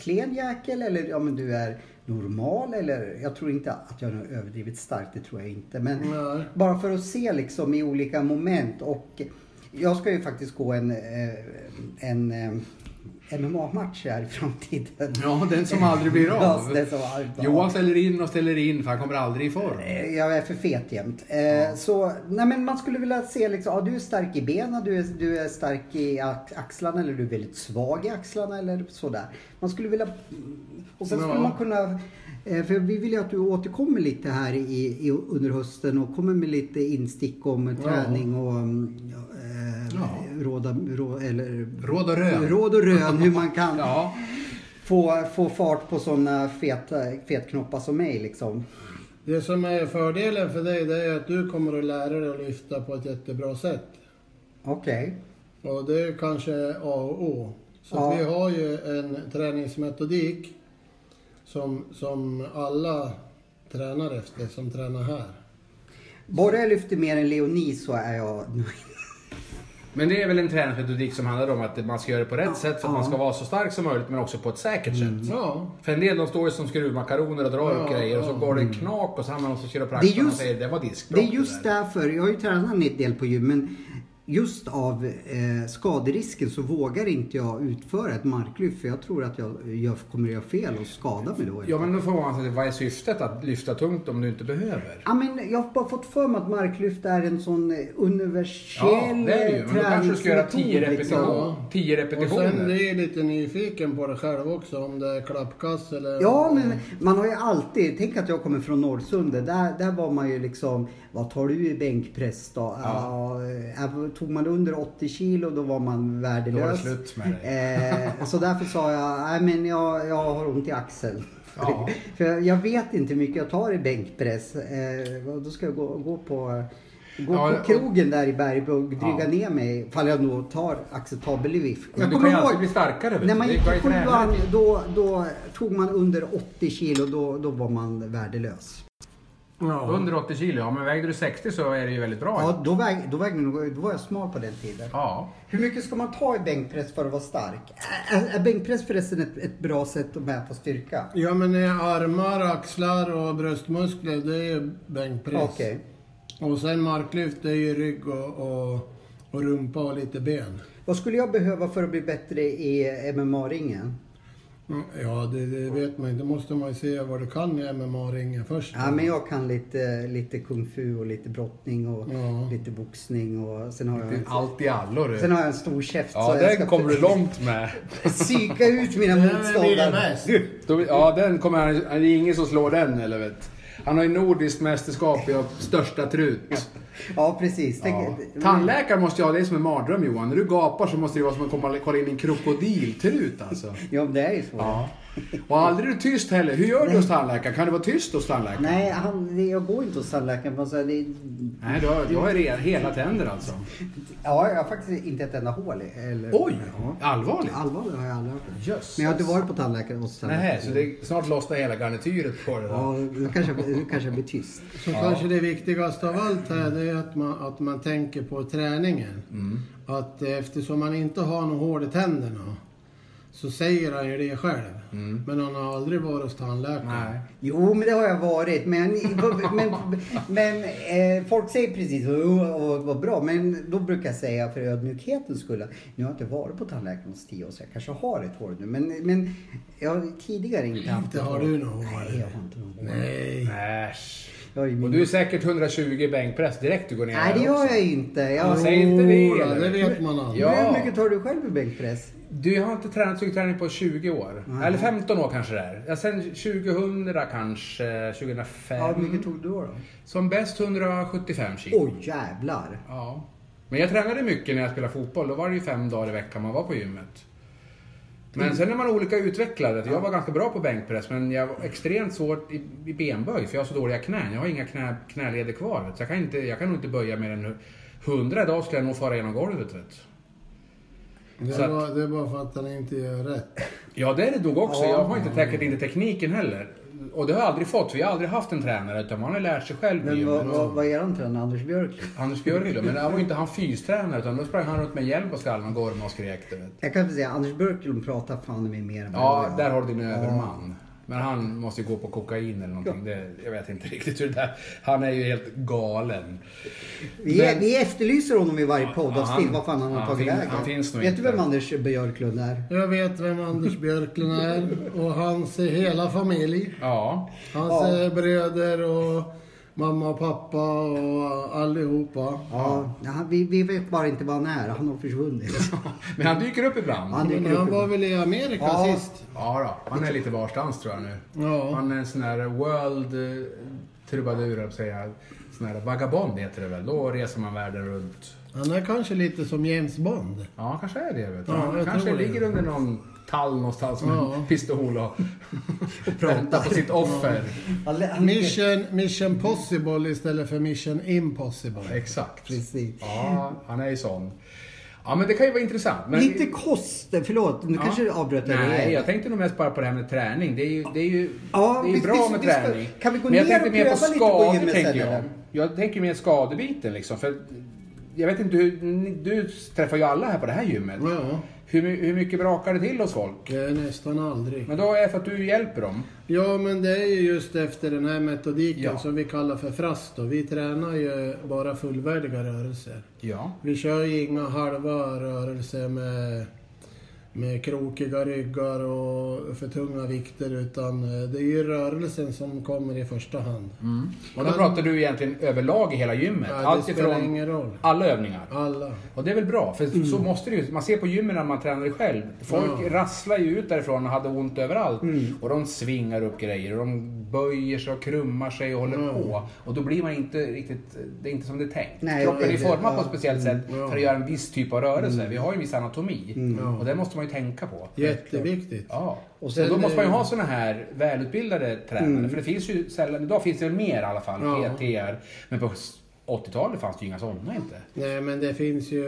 S2: klen jäkel eller ja men du är normal eller jag tror inte att jag är överdrivet stark, det tror jag inte. Men
S3: Nej.
S2: bara för att se liksom i olika moment och jag ska ju faktiskt gå en, eh, en eh, MMA-match här i framtiden.
S1: Ja, den som aldrig blir
S2: [LAUGHS] Ja,
S1: av.
S2: den som aldrig blir av.
S1: Johan ställer in och ställer in för han kommer aldrig i form.
S2: Eh, Jag är för fet jämt. Eh, Så, nej men man skulle vilja se liksom, ja, du är stark i benen, du är, du är stark i ax- axlarna eller du är väldigt svag i axlarna eller sådär. Man skulle vilja... Och sen skulle
S1: Ja.
S2: man kunna... eh, För vi vill ju att du återkommer lite här i, i, under hösten och kommer med lite instick om träning och mm, eh,
S1: Ja.
S2: råda, rå, eller,
S1: Råd och rön.
S2: råd och rön hur man kan
S1: Ja,
S2: få, få fart på sådana feta, fetknoppar som mig liksom.
S3: Det som är fördelen för dig det är att du kommer att lära dig att lyfta på ett jättebra sätt.
S2: Okej.
S3: Och det är kanske A och O. Så
S2: Ja.
S3: att vi har ju en träningsmetodik som, som alla tränar efter, som tränar här.
S2: Bara jag lyfter mer än Leonie så är jag
S1: men det är väl en träningsmetodik som handlar om att man ska göra det på rätt sätt för att man ska vara så stark som möjligt men också på ett säkert
S2: Mm.
S1: sätt.
S3: Ja,
S1: För en del de står ju som skruvmakaroner och drar upp
S3: Ja,
S1: grejer och så går det knak och så hamnar de hos
S2: Mm. Det är
S1: kiropraktorn och
S2: just-
S1: säger det var diskbråck.
S2: Det är just
S1: där."
S2: därför, jag har ju tränat en del på gym men just av eh, skaderisken så vågar inte jag utföra ett marklyft för jag tror att jag, jag kommer göra fel och skada mig då.
S1: Ja men då får man säga, vad är syftet att lyfta tungt om du inte behöver?
S2: Ja, men jag har bara fått för mig att marklyft är en sån eh,
S1: Ja,
S2: universell
S1: det är det ju. Men då kanske du ska göra 10
S2: träningsmetod, liksom.
S1: repetitioner. 10
S3: och sen
S1: repetitioner.
S3: vi är lite nyfiken på det själv också, om det är klappkast
S1: Eh,
S3: eller...
S2: Ja, men man har ju alltid, tänk att jag kommer från Norrsundet. Där, där var man ju liksom, vad tar du i bänkpress då? Ja. eh, tog man under 80 kilo då var man värdelös.
S1: Då var det slut med
S2: eh, Så därför sa jag, nej men jag, jag har ont i axeln.
S1: Ja.
S2: [LAUGHS] För jag- jag vet inte hur mycket jag tar i bänkpress. Eh, och då ska jag gå, gå på Gå
S1: Ja,
S2: på
S1: och-
S2: krogen där i Bergbog, dryga
S1: Ja.
S2: ner mig. Ifall jag nog tar acceptabel vikt.
S1: Men du kan ju alltid bli starkare. vet
S2: När
S1: du.
S2: man
S1: Det
S2: gick
S1: går
S2: i
S1: ju att träna
S2: sjuan
S1: det.
S2: då, då tog man under 80 kilo, då, då var man värdelös.
S3: Ja.
S1: Under 80 kilo, ja men vägde du 60 så är det ju väldigt bra.
S2: Ja, då, väg, då, vägde, nog- då var jag smal på den tiden.
S1: Ja.
S2: Hur mycket ska man ta i bänkpress för att vara stark? Ä- Är, är bänkpress förresten ett, ett bra sätt att mäta styrka?
S3: ja, men det är armar, axlar och bröstmuskler, det är ju bänkpress.
S2: Okej.
S3: Och sen marklyft, det är ju rygg och, och, och rumpa och lite ben.
S2: Vad skulle jag behöva för att bli bättre i MMA-ringen?
S3: Mm, Ja, det, det vet man ju. Det måste man ju se vad du kan i MMA-ringen först.
S1: Mm.
S2: Ja, men jag kan lite, lite kung fu och lite brottning och
S3: Ja.
S2: lite boxning och sen har jag,
S1: Det är
S2: en,
S1: Allt i allo du.
S2: sen har jag en stor käft.
S1: Ja,
S2: jag
S1: den kommer du långt
S2: [LAUGHS]
S1: med.
S2: psyka ut mina
S3: Vem vill det
S2: motståndare.
S3: mest?
S1: Då- Ja, den kommer han... Det är ingen som slår den, eller vet. Han har ju nordiskt mästerskap i att största trut.
S2: Ja, precis.
S1: Ja.
S2: Tänk-
S1: Tandläkare måste jag ha, det är som en mardröm Johan. När du gapar så måste det vara som att komma, kolla in i en krokodiltrut alltså.
S2: Ja, men det är ju så.
S1: Ja. Och aldrig är du tyst heller. Hur gör du hos tandläkaren? Kan du vara tyst hos tandläkaren?
S2: Nej, han, det- jag går inte hos tandläkaren. men så här, det-
S1: Nej, du har, du har re- hela tänder alltså.
S2: Ja, jag har faktiskt inte ett enda hål. i- Eller,
S1: Oj!
S2: Ja.
S1: Allvarligt?
S2: Allvarligt har jag aldrig hört det.
S1: Jösses.
S2: Men jag har inte varit på tandläkaren hos tandläkaren.
S1: Nej, så det är snart lossnar hela garnityret på det där.
S2: Ja, då kanske, jag- då kanske jag blir tyst.
S3: Så kanske det viktigaste av allt här det är att man, att man tänker på träningen.
S1: Mm.
S3: Att eh, eftersom man inte har något hål i tänderna så säger han ju det själv. Men han har aldrig varit hos tandläkaren.
S1: Mm. Nej.
S2: Jo, men det har jag varit. Men, men, men eh, folk säger precis "Åh, vad vad bra. Men då brukar jag säga för ödmjukhetens skull att nu har jag inte varit på tandläkaren hos tio år så jag kanske har ett hår nu. Men, men jag har tidigare inte haft
S3: Inte
S2: ett
S3: har
S2: hår.
S3: du något hår.
S2: Nej, jag har inte något hår.
S3: Nej.
S1: Äsch.
S2: Jag har ju
S1: Och
S2: min...
S1: du är säkert 120 i bänkpress direkt du går ner
S2: Nej,
S1: här
S2: det gör
S1: också.
S2: jag inte. Jag
S1: Ja, säg inte det,
S3: Jodå,
S1: eller?
S3: det vet man aldrig.
S1: Ja.
S2: Hur mycket tar du själv i bänkpress?
S1: Du har inte tränat styrketräning på 20 år. Eller 15 år kanske det är. Ja, sen 2000 kanske, 2005.
S2: Ja, hur mycket tog du då?
S1: Som bäst 175 kilo.
S2: Oj jävlar!
S1: Ja. Men jag tränade mycket när jag spelade fotboll. Då var det ju fem dagar i veckan man var på gymmet.
S2: Mm.
S1: Men sen är man olika utvecklare. Jag var ganska bra på bänkpress men jag var extremt svårt i, i benböj för jag har så dåliga knän. Jag har inga knä, knäleder kvar. vet du. Så jag, kan inte, jag kan nog inte böja mer än 100 idag skulle jag nog fara genom golvet. Vet. du.
S3: Det
S1: Så
S3: är,
S1: att-
S3: bara, det är bara för att han inte gör rätt.
S1: Ja, det är det nog också.
S2: Ja.
S1: Jag har inte säkert inte tekniken heller. Och det har jag aldrig fått, för jag har aldrig haft en tränare utan man har lärt sig själv. i
S2: Men vad,
S1: gymmet.
S2: vad, vad är han tränare? Anders Björk?
S1: Anders Björklund, men han var ju inte han fystränare utan då sprang han runt med hjälp på skallen och gormade och skrek. Du vet.
S2: Jag kan väl säga Anders Björklund pratar fan med mer än vad jag
S1: Ja,
S2: gör.
S1: där har du din överman. Men han måste ju gå på kokain eller någonting. Det, jag vet inte riktigt hur det där... Han är ju helt galen.
S2: Vi,
S1: Men-
S2: vi efterlyser honom i varje poddavsnitt.
S1: han-
S2: Vad fan han har
S1: han
S2: tagit
S1: fin-
S2: vägen.
S1: han finns nog
S2: Vet du
S1: inte.
S2: vem Anders Björklund är?
S3: Jag vet vem Anders Björklund är och hans hela familj.
S1: Ja.
S3: Hans
S2: Ja.
S3: eh, bröder och mamma och pappa och allihopa.
S2: Ja, han- vi, vi vet bara inte var han är. Han
S1: [LAUGHS]
S2: har försvunnit.
S1: Men han dyker upp ibland.
S2: Han dyker
S3: Men han
S2: upp.
S3: var väl i Amerika
S2: Ja.
S3: sist?
S1: Ja då, han är lite varstans tror jag nu.
S3: Ja.
S1: Han är en sån här world eh, trubadur, höll jag på att säga. Sån här vagabond heter det väl. Då reser man världen runt.
S3: Han är kanske lite som James Bond.
S1: Ja, han kanske är det. Vet du.
S3: Ja,
S1: han
S3: jag
S1: kanske
S3: tror det.
S1: ligger under någon tall någonstans med
S3: Ja.
S1: en pistol och, och väntar på sitt offer.
S2: Han lä- han-
S3: Mission, mission possible istället för mission impossible.
S1: Exakt.
S2: Precis.
S1: Ja, han är ju sån. Ja, men det kan ju vara intressant. Men...
S2: Lite kost, förlåt, nu kanske du avbröt dig
S1: Nej,
S2: rejält.
S1: jag tänkte nog mest bara på det här med träning. Det är ju, det är ju
S2: Ja,
S1: det är ju
S2: visst,
S1: bra
S2: visst,
S1: med
S2: visst.
S1: träning.
S2: Kan vi gå
S1: men jag
S2: ner
S1: tänkte
S2: och
S1: mer på
S2: pröva lite på
S1: skador,
S2: gymmet
S1: tänker
S2: sen,
S1: jag.
S2: eller?
S1: Jag tänker mer skadebiten liksom. För jag vet inte, hur, ni- du träffar ju alla här på det här gymmet.
S3: Ja,
S1: Hur, my- hur mycket brakar det till hos folk?
S3: det är nästan aldrig.
S1: Men då är det för att du hjälper dem.
S3: Ja, men det är ju just efter den här metodiken
S1: Ja.
S3: som vi kallar för frast. Då. Vi tränar ju bara fullvärdiga rörelser.
S1: Ja.
S3: Vi kör ju inga halva rörelser med, med krokiga ryggar och för tunga vikter utan eh, det är ju rörelsen som kommer i första hand.
S1: Och då pratar du egentligen överlag i hela gymmet.
S3: Ja, det
S1: Mm. Allt
S3: spelar
S1: ifrån
S3: ingen roll.
S1: alla övningar.
S3: Alla.
S1: Och det är väl bra, för så måste det ju. Man ser på gymmen när man tränar själv. Folk
S3: Ja.
S1: rasslar ju ut därifrån och hade ont överallt. Och de svingar upp grejer och de böjer sig och krummar sig och håller på. Och då blir man inte riktigt, det är inte som det är tänkt.
S2: Nej,
S1: Kroppen
S2: det-
S1: är formad på
S2: ja.
S1: ett speciellt sätt
S3: Ja.
S1: för att göra en viss typ av rörelse. Vi har ju en viss anatomi.
S3: Ja.
S1: Och det måste man ju tänka på.
S3: Jätteviktigt.
S1: Ja.
S3: Och
S1: Och
S3: sen
S1: då måste man ju
S3: är-
S1: ha såna här välutbildade tränare. För det finns ju sällan, idag finns det väl mer i alla fall,
S3: Ja.
S1: PTR. Men på 80-talet fanns det ju inga sådana inte.
S3: Nej, men det finns ju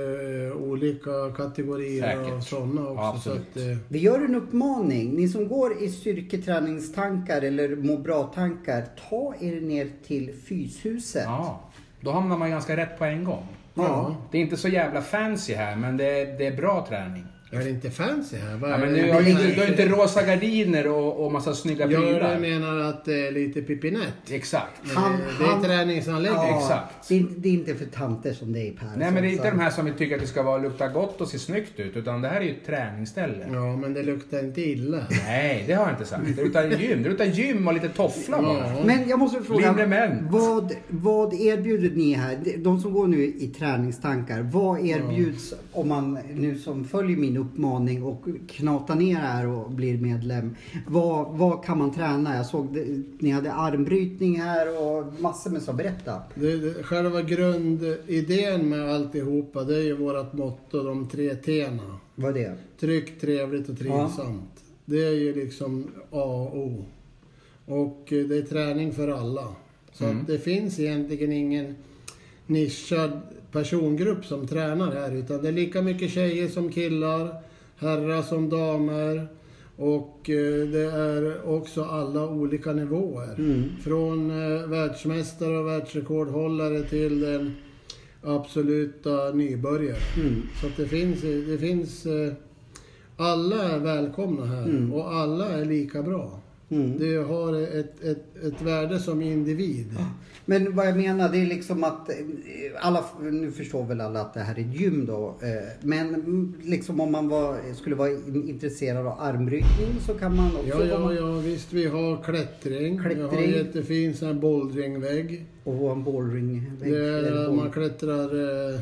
S3: eh, olika kategorier
S1: Säkert.
S3: av sådana också.
S1: Ja,
S3: så
S1: absolut.
S3: att, eh,
S2: Vi gör en uppmaning. Ni som går i styrketräningstankar eller må bra-tankar, ta er ner till Fyshuset.
S1: Ja. Då hamnar man ganska rätt på en gång.
S2: Ja.
S1: Det är inte så jävla fancy här, men det är, det är bra träning.
S3: är det inte fancy här? Vad
S1: Ja,
S3: är
S1: men
S3: det?
S1: du, har ju inte,
S3: Nej.
S1: du har inte rosa gardiner och, och massa snygga
S3: Jag
S1: prylar.
S3: menar att det är lite pipinett.
S1: Exakt.
S2: Han-
S3: Eh, det är
S2: han-
S3: träningsanläggning.
S2: Ja,
S1: exakt.
S2: Det, är, det är inte för tanter som det är Per.
S1: Nej, men det är
S2: Så-
S1: inte de här som vi tycker att det ska vara, lukta gott och se snyggt ut, utan det här är ju ett träningsställe.
S3: Ja, men det luktar inte illa.
S1: Nej, det har jag inte sagt. Det luktar gym. Det luktar gym och lite toffla bara.
S2: Men jag måste
S1: Lindre
S2: fråga,
S1: män.
S2: vad, vad erbjuder ni här? De som går nu i träningstankar, vad erbjuds om man nu som följer min uppmaning och knatar ner här och blir medlem? Vad, vad kan man träna? Jag såg det, ni hade armbrytning här och massor med så. Berätta.
S3: Det, det, själva grundidén med alltihopa, det är ju vårt motto, de tre T'na.
S2: Vad är det?
S3: Tryggt, trevligt och trivsamt. Det är ju liksom A och O. Och eh, det är träning för alla. Så att det finns egentligen ingen nischad persongrupp som tränar här utan det är lika mycket tjejer som killar, herrar som damer och eh, det är också alla olika nivåer. Från eh, världsmästare och världsrekordhållare till den absoluta nybörjare. Så att det finns, det finns eh, alla är välkomna här och alla är lika bra. Det har ett, ett, ett värde som individ.
S2: Men vad jag menar, det är liksom att eh, alla, nu förstår väl alla att det här är ett gym då. eh, Men mm, liksom om man var, skulle vara in- intresserad av armbrytning så kan man också
S3: Ja, ja,
S2: komma
S3: ja, visst vi har klättring. Vi har en
S2: Klättring.
S3: jättefin sån här bouldringvägg.
S2: och en bollring.
S3: Det är
S2: eller
S3: att
S2: boll-
S3: man klättrar eh,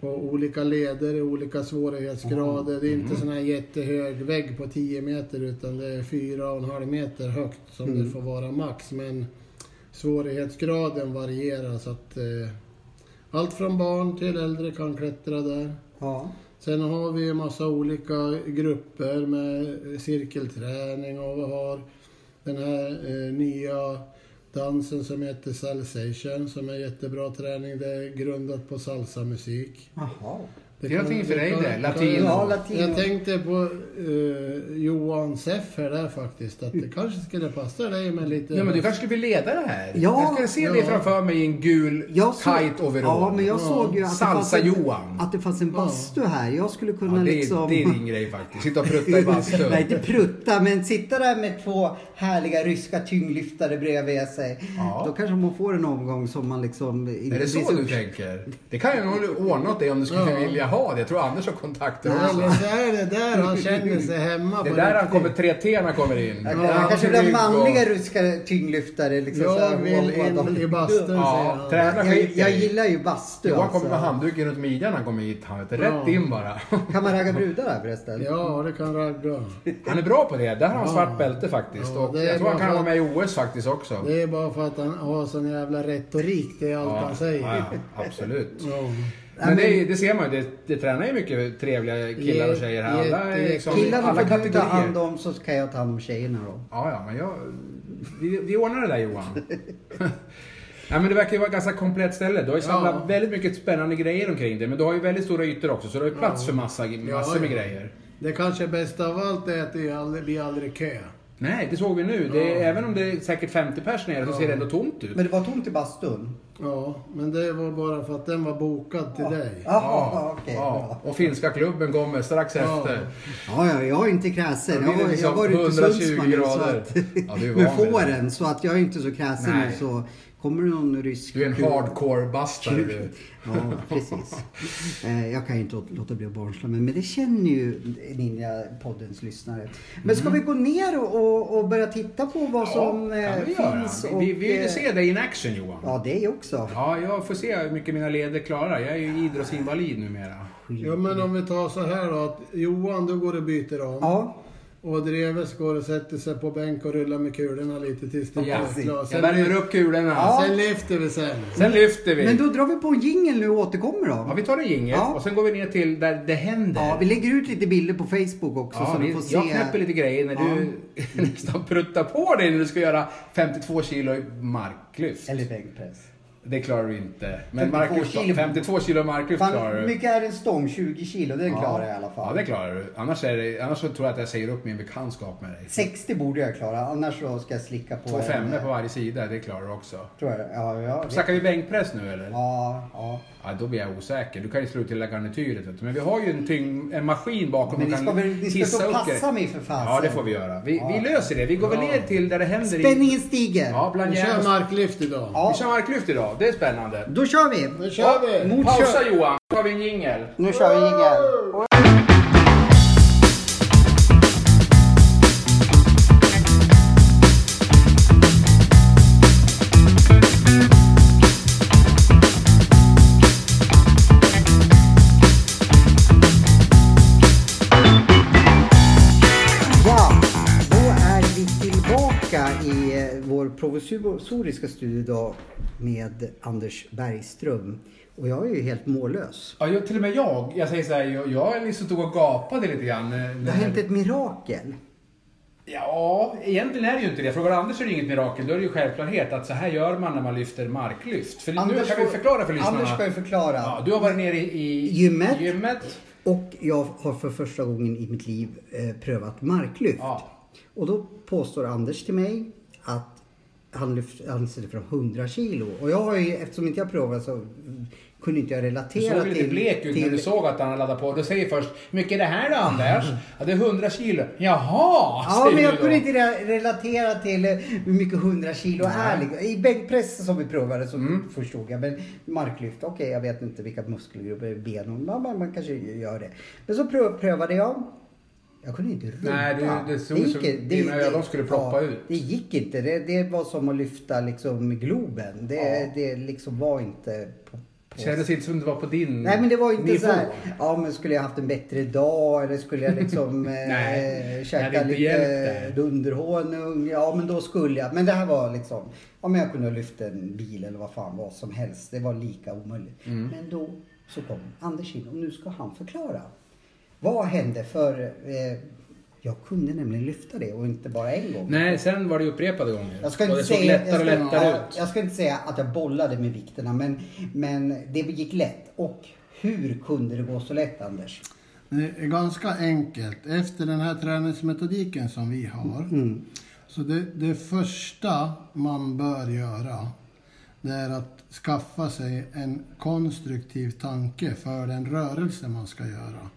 S3: på olika leder i olika svårighetsgrader. Det är
S2: Mm.
S3: inte sån här jättehög vägg på 10 meter utan det är 4,5 meter högt som
S2: Mm.
S3: det får vara max. Men svårighetsgraden varierar så att eh, allt från barn till äldre kan klättra där.
S2: Ja.
S3: Sen har vi en massa olika grupper med cirkelträning och vi har den här eh, nya dansen som heter salsation som är jättebra träning. Det är grundat på salsamusik.
S2: Jaha.
S1: Det är någonting för dig
S3: kan-
S1: det,
S3: kan-
S1: latino.
S2: Ja, latino.
S3: Jag tänkte på eh, Johan Seffer där faktiskt. Att det kanske skulle passa dig med lite...
S1: Mm. Ja, men du kanske skulle bli ledare här?
S2: Ja,
S1: jag skulle se dig
S3: ja.
S1: framför mig i en gul
S2: Jag såg-
S1: tight overall.
S2: Ja, men jag såg ju att det, fanns
S1: Salsa
S2: en,
S1: Johan.
S2: att det fanns en bastu här. Jag skulle
S1: Ja,
S2: kunna
S1: det, är,
S2: liksom...
S1: det är
S2: [LAUGHS]
S1: din grej faktiskt. Sitta och prutta i bastun.
S2: Nej, inte prutta, men sitta där med två härliga ryska tyngdlyftare bredvid sig.
S1: Ja.
S2: Då kanske man får en omgång som man liksom... Inte
S1: Är det
S2: blir
S1: så du tänker? Det kan jag nog ordna åt dig om du skulle
S3: Ja.
S1: vilja ha det. Jag tror Anders har kontakter
S3: Eller
S1: också.
S3: så är det där han känner sig hemma
S1: Det är
S3: på
S1: där han
S3: riktigt.
S1: kommer, 3T när kommer in.
S2: Han
S3: Ja,
S2: kanske vill ha
S1: rygg och-
S2: manliga ryska tyngdlyftare. Liksom, så här,
S3: Jag vill
S2: och- och-
S3: in i bastun säger
S1: Ja,
S3: han.
S1: träna
S2: jag,
S1: skiter
S2: jag
S1: i.
S2: gillar ju bastu.
S1: Johan
S2: alltså.
S1: kommer med handduken runt midjan när han kommer hit. Han vet,
S3: Ja.
S1: rätt in bara. [LAUGHS]
S2: Kan man ragga brudar här förresten?
S3: Ja, det kan ragga.
S1: Han är bra på det. Där har han svart bälte faktiskt.
S3: Ja,
S1: Och
S3: det är
S1: jag tror han
S3: bra
S1: kan vara
S3: för-
S1: med i OS faktiskt också.
S3: Det är bara för att han har sån jävla retorik. Det är allt han säger.
S1: ja, ja, absolut.
S3: Ja.
S1: Men det, är- det ser man ju. Det, det tränar ju mycket trevliga killar och tjejer här. Alla, är
S3: Jätte-
S1: liksom,
S2: Killarna
S1: alla
S2: får du ta hand
S1: kategorier.
S2: om så kan jag ta hand om tjejerna då.
S1: Ja, ja, men jag... Vi, vi ordnar det där
S2: [LAUGHS]
S1: Johan. Ja, men det verkar ju vara ett ganska komplett ställe. Du har ju samlat
S3: Ja.
S1: väldigt mycket spännande grejer omkring dig. Men du har ju väldigt stora ytor också, så du har ju plats för massa, massor med
S3: ja.
S1: grejer.
S3: Det kanske bästa av allt är att det aldrig, blir aldrig kö.
S1: Nej, det såg vi nu. Det, Även om det är säkert 50 pers nere så ser det ändå tomt ut.
S2: Men det var tomt i bastun?
S3: Ja, men det var bara för att den var bokad till dig.
S2: Jaha, okej.
S1: ja.
S2: bra.
S1: Och finska klubben kommer strax efter.
S2: Ja, ja, jag är inte
S1: Det
S2: kräsen. Jag,
S1: blir
S2: var- jag
S1: liksom
S2: var ute i
S1: 120
S2: Sundsvall nu, så
S1: grader.
S2: att, [LAUGHS]
S1: Ja, du är
S2: med
S1: van vid det.
S2: fåren. Så att jag är inte så kräsen nu
S1: Nej.
S2: så kommer det någon rysk...
S1: Du är en
S2: kul- [LAUGHS]
S1: hardcore-bastare du.
S2: Ja, precis. Eh, Jag kan ju inte låta- låta bli att barnsla mig, men det känner ju Ninja-poddens lyssnare. Men ska vi gå ner och- och, och börja titta på vad som eh,
S1: Mm. kan vi göra.
S2: finns?
S1: Vi- Vi, vi vill ju
S2: eh,
S1: se dig in action Johan. Ja.
S2: Ja, det också.
S1: jag får se hur mycket mina leder klarar. Jag är ju idrottsinvalid numera.
S3: Ja, men om vi tar så här då. Att Johan, du går och byter om.
S2: Ja,
S3: Och Dreves går och sätter sig på bänk och rullar med kulorna lite tills det
S1: Ja,
S3: blir klart.
S1: jag
S3: Sen,
S1: värmer upp kulorna.
S2: Ja.
S3: sen lyfter vi sen.
S1: Sen lyfter vi.
S2: men då drar vi på en jingel nu och återkommer då.
S1: Ja, vi tar en jingel
S2: Ja.
S1: och sen går vi ner till där det händer.
S2: Ja, vi lägger ut lite bilder på Facebook också
S1: Ja,
S2: så
S1: vi-
S2: ni får se.
S1: jag knäpper lite grejer när du [LAUGHS] nästan pruttar på dig när du ska göra 52 kilo i marklyft.
S2: Eller bänkpress.
S1: Det klarar du inte. Men
S2: 52
S1: marklyft,
S2: kilo.
S1: 52 kilo marklyft klarar
S2: Fan,
S1: du.
S2: mycket är en stång? 20 kilo, den klarar jag i alla
S1: Ja,
S2: fall.
S1: det klarar du. Annars, är det, annars så tror jag att jag säger upp min bekantskap med dig.
S2: 60 borde jag klara, annars så ska jag slicka på...
S1: Två
S2: en,
S1: femmor på
S2: eh,
S1: varje sida, det klarar du också.
S2: Tror jag. Ja, ja. det-
S1: Snackar vi bänkpress nu eller? Ja.
S2: Ja, ja.
S1: då blir jag osäker. Du kan ju slå ut hela garnityret. Vet du. Men vi har ju en, tyng, en maskin bakom
S2: Men
S1: som
S2: ni ska
S1: kan
S2: väl ni ska
S1: hissa
S2: väl
S1: upp
S2: passa
S1: grejer.
S2: mig för fasen?
S1: Ja, det får vi göra. Vi, vi löser det. Vi går väl ner till där det händer. i-
S2: Spänningen stiger.
S1: Ja, bland
S3: Vi
S1: järn
S3: kör
S1: och
S3: marklyft idag.
S2: Ja.
S1: Vi kör marklyft idag, det är spännande.
S2: Då kör vi!
S3: Nu kör vi!
S2: Mot
S1: Pausa
S2: kör-
S1: Johan, då har vi en jingel.
S2: Nu kör vi jingel. Ja, då är vi tillbaka i eh, vår provisoriska studio idag med Anders Bergström. Och jag är ju helt mållös.
S1: Ja, jag, till och med jag. Jag säger så här, jag, jag liksom stod och gapade lite grann. eh,
S2: Det
S1: när-
S2: har hänt ett mirakel.
S1: Ja, egentligen är det ju inte det. Frågar Anders är det inget mirakel. Då är det ju självklarhet att så här gör man när man lyfter marklyft. För nu kan vi
S2: får-
S1: förklara för lyssnarna.
S2: Anders ska ju förklara.
S1: Ja, du har varit nere i, i
S2: Gymmet.
S1: gymmet.
S2: Och jag har för första gången i mitt liv eh, prövat marklyft.
S1: Ja.
S2: Och då påstår Anders till mig att han lyfter han sitter från 100 kilo. Och jag har ju, eftersom inte jag provat så mm, kunde inte jag
S1: Du
S2: relatera
S1: såg lite
S2: till...
S1: blek ut när
S2: till-
S1: du såg att han laddade på. Du säger först, hur mycket är det här då Anders? Ja, det är 100 kilo. Jaha!
S2: Ja,
S1: säger
S2: men
S1: du
S2: jag
S1: då.
S2: kunde inte re- relatera till eh, hur mycket 100 kilo är. liksom. I bänkpress som vi provade så
S1: Mm.
S2: förstod jag. Men marklyft, okej jag vet inte vilka muskelgrupper, ben, man, man, man kanske gör det. Men så prö- prövade jag. Jag kunde inte rubba.
S1: Nej, det- det såg ut som
S2: inte.
S1: dina ögon skulle ploppa ut.
S2: Det gick inte. Det, det var som att lyfta liksom Globen. Det,
S1: Ja.
S2: det liksom var inte på, på
S1: Kändes inte som det var på din
S2: Nej men det var inte
S1: nivå.
S2: så här, ja men skulle jag haft en bättre dag eller skulle jag
S1: [LAUGHS]
S2: liksom eh,
S1: Nej, det
S2: käka
S1: hade inte
S2: lite
S1: hjälpt
S2: dunderhonung, ja men då skulle jag. Men det här var liksom, ja men jag kunde ha lyft en bil eller vad fan vad som helst. Det var lika omöjligt.
S1: Mm.
S2: Men då så kom Anders in och nu ska han förklara. Vad hände? För eh, jag kunde nämligen lyfta det och inte bara en gång.
S1: Nej, sen var det upprepade gånger.
S2: Jag ska,
S1: och det
S2: inte
S1: såg
S2: säga, jag,
S1: lättare
S2: ska,
S1: och lättare
S2: ja,
S1: ut.
S2: jag ska inte säga att jag bollade med vikterna men, men det gick lätt. Och Hur kunde det gå så lätt, Anders?
S3: Det är ganska enkelt. Efter den här träningsmetodiken som vi har. Så det, det första man bör göra. Det är att skaffa sig en konstruktiv tanke för den rörelse man ska göra.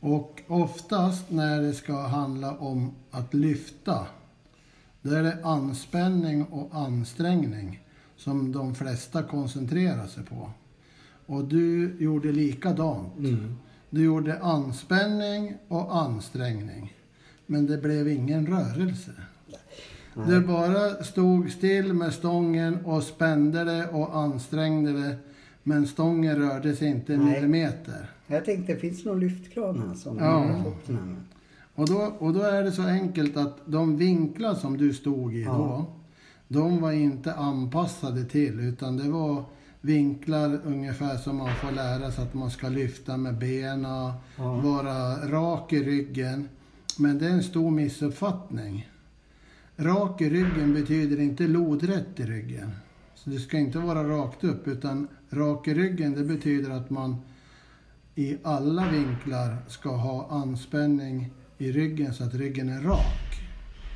S3: Och oftast när det ska handla om att lyfta. Då är det anspänning och ansträngning som de flesta koncentrerar sig på. Och du gjorde likadant. Du gjorde anspänning och ansträngning. Men det blev ingen rörelse. Du bara stod still med stången och spände det och ansträngde det. Men stången rörde sig inte en
S2: Nej.
S3: millimeter.
S2: Jag tänkte, finns det någon lyftkran här som
S3: Ja.
S2: har fått den här?
S3: Och då, och då är det så enkelt att de vinklar som du stod i då, de var inte anpassade till utan det var vinklar ungefär som man får lära sig att man ska lyfta med benen, vara rak i ryggen. Men det är en stor missuppfattning. Rak i ryggen betyder inte lodrätt i ryggen. Så du ska inte vara rakt upp utan rak i ryggen det betyder att man i alla vinklar ska ha anspänning i ryggen så att ryggen är rak.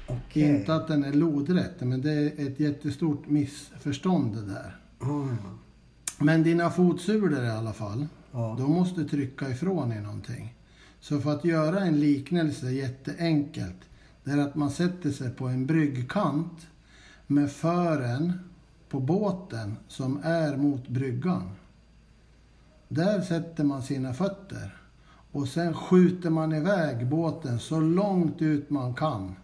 S2: Okej.
S3: Inte att den är lodrätt, men det är ett jättestort missförstånd det där.
S2: Ja,
S3: Men dina fotsulor i alla fall,
S2: Ja.
S3: de måste trycka ifrån i någonting. Så för att göra en liknelse jätteenkelt, det är att man sätter sig på en bryggkant med fören på båten som är mot bryggan. Där sätter man sina fötter och sen skjuter man iväg båten så långt ut man kan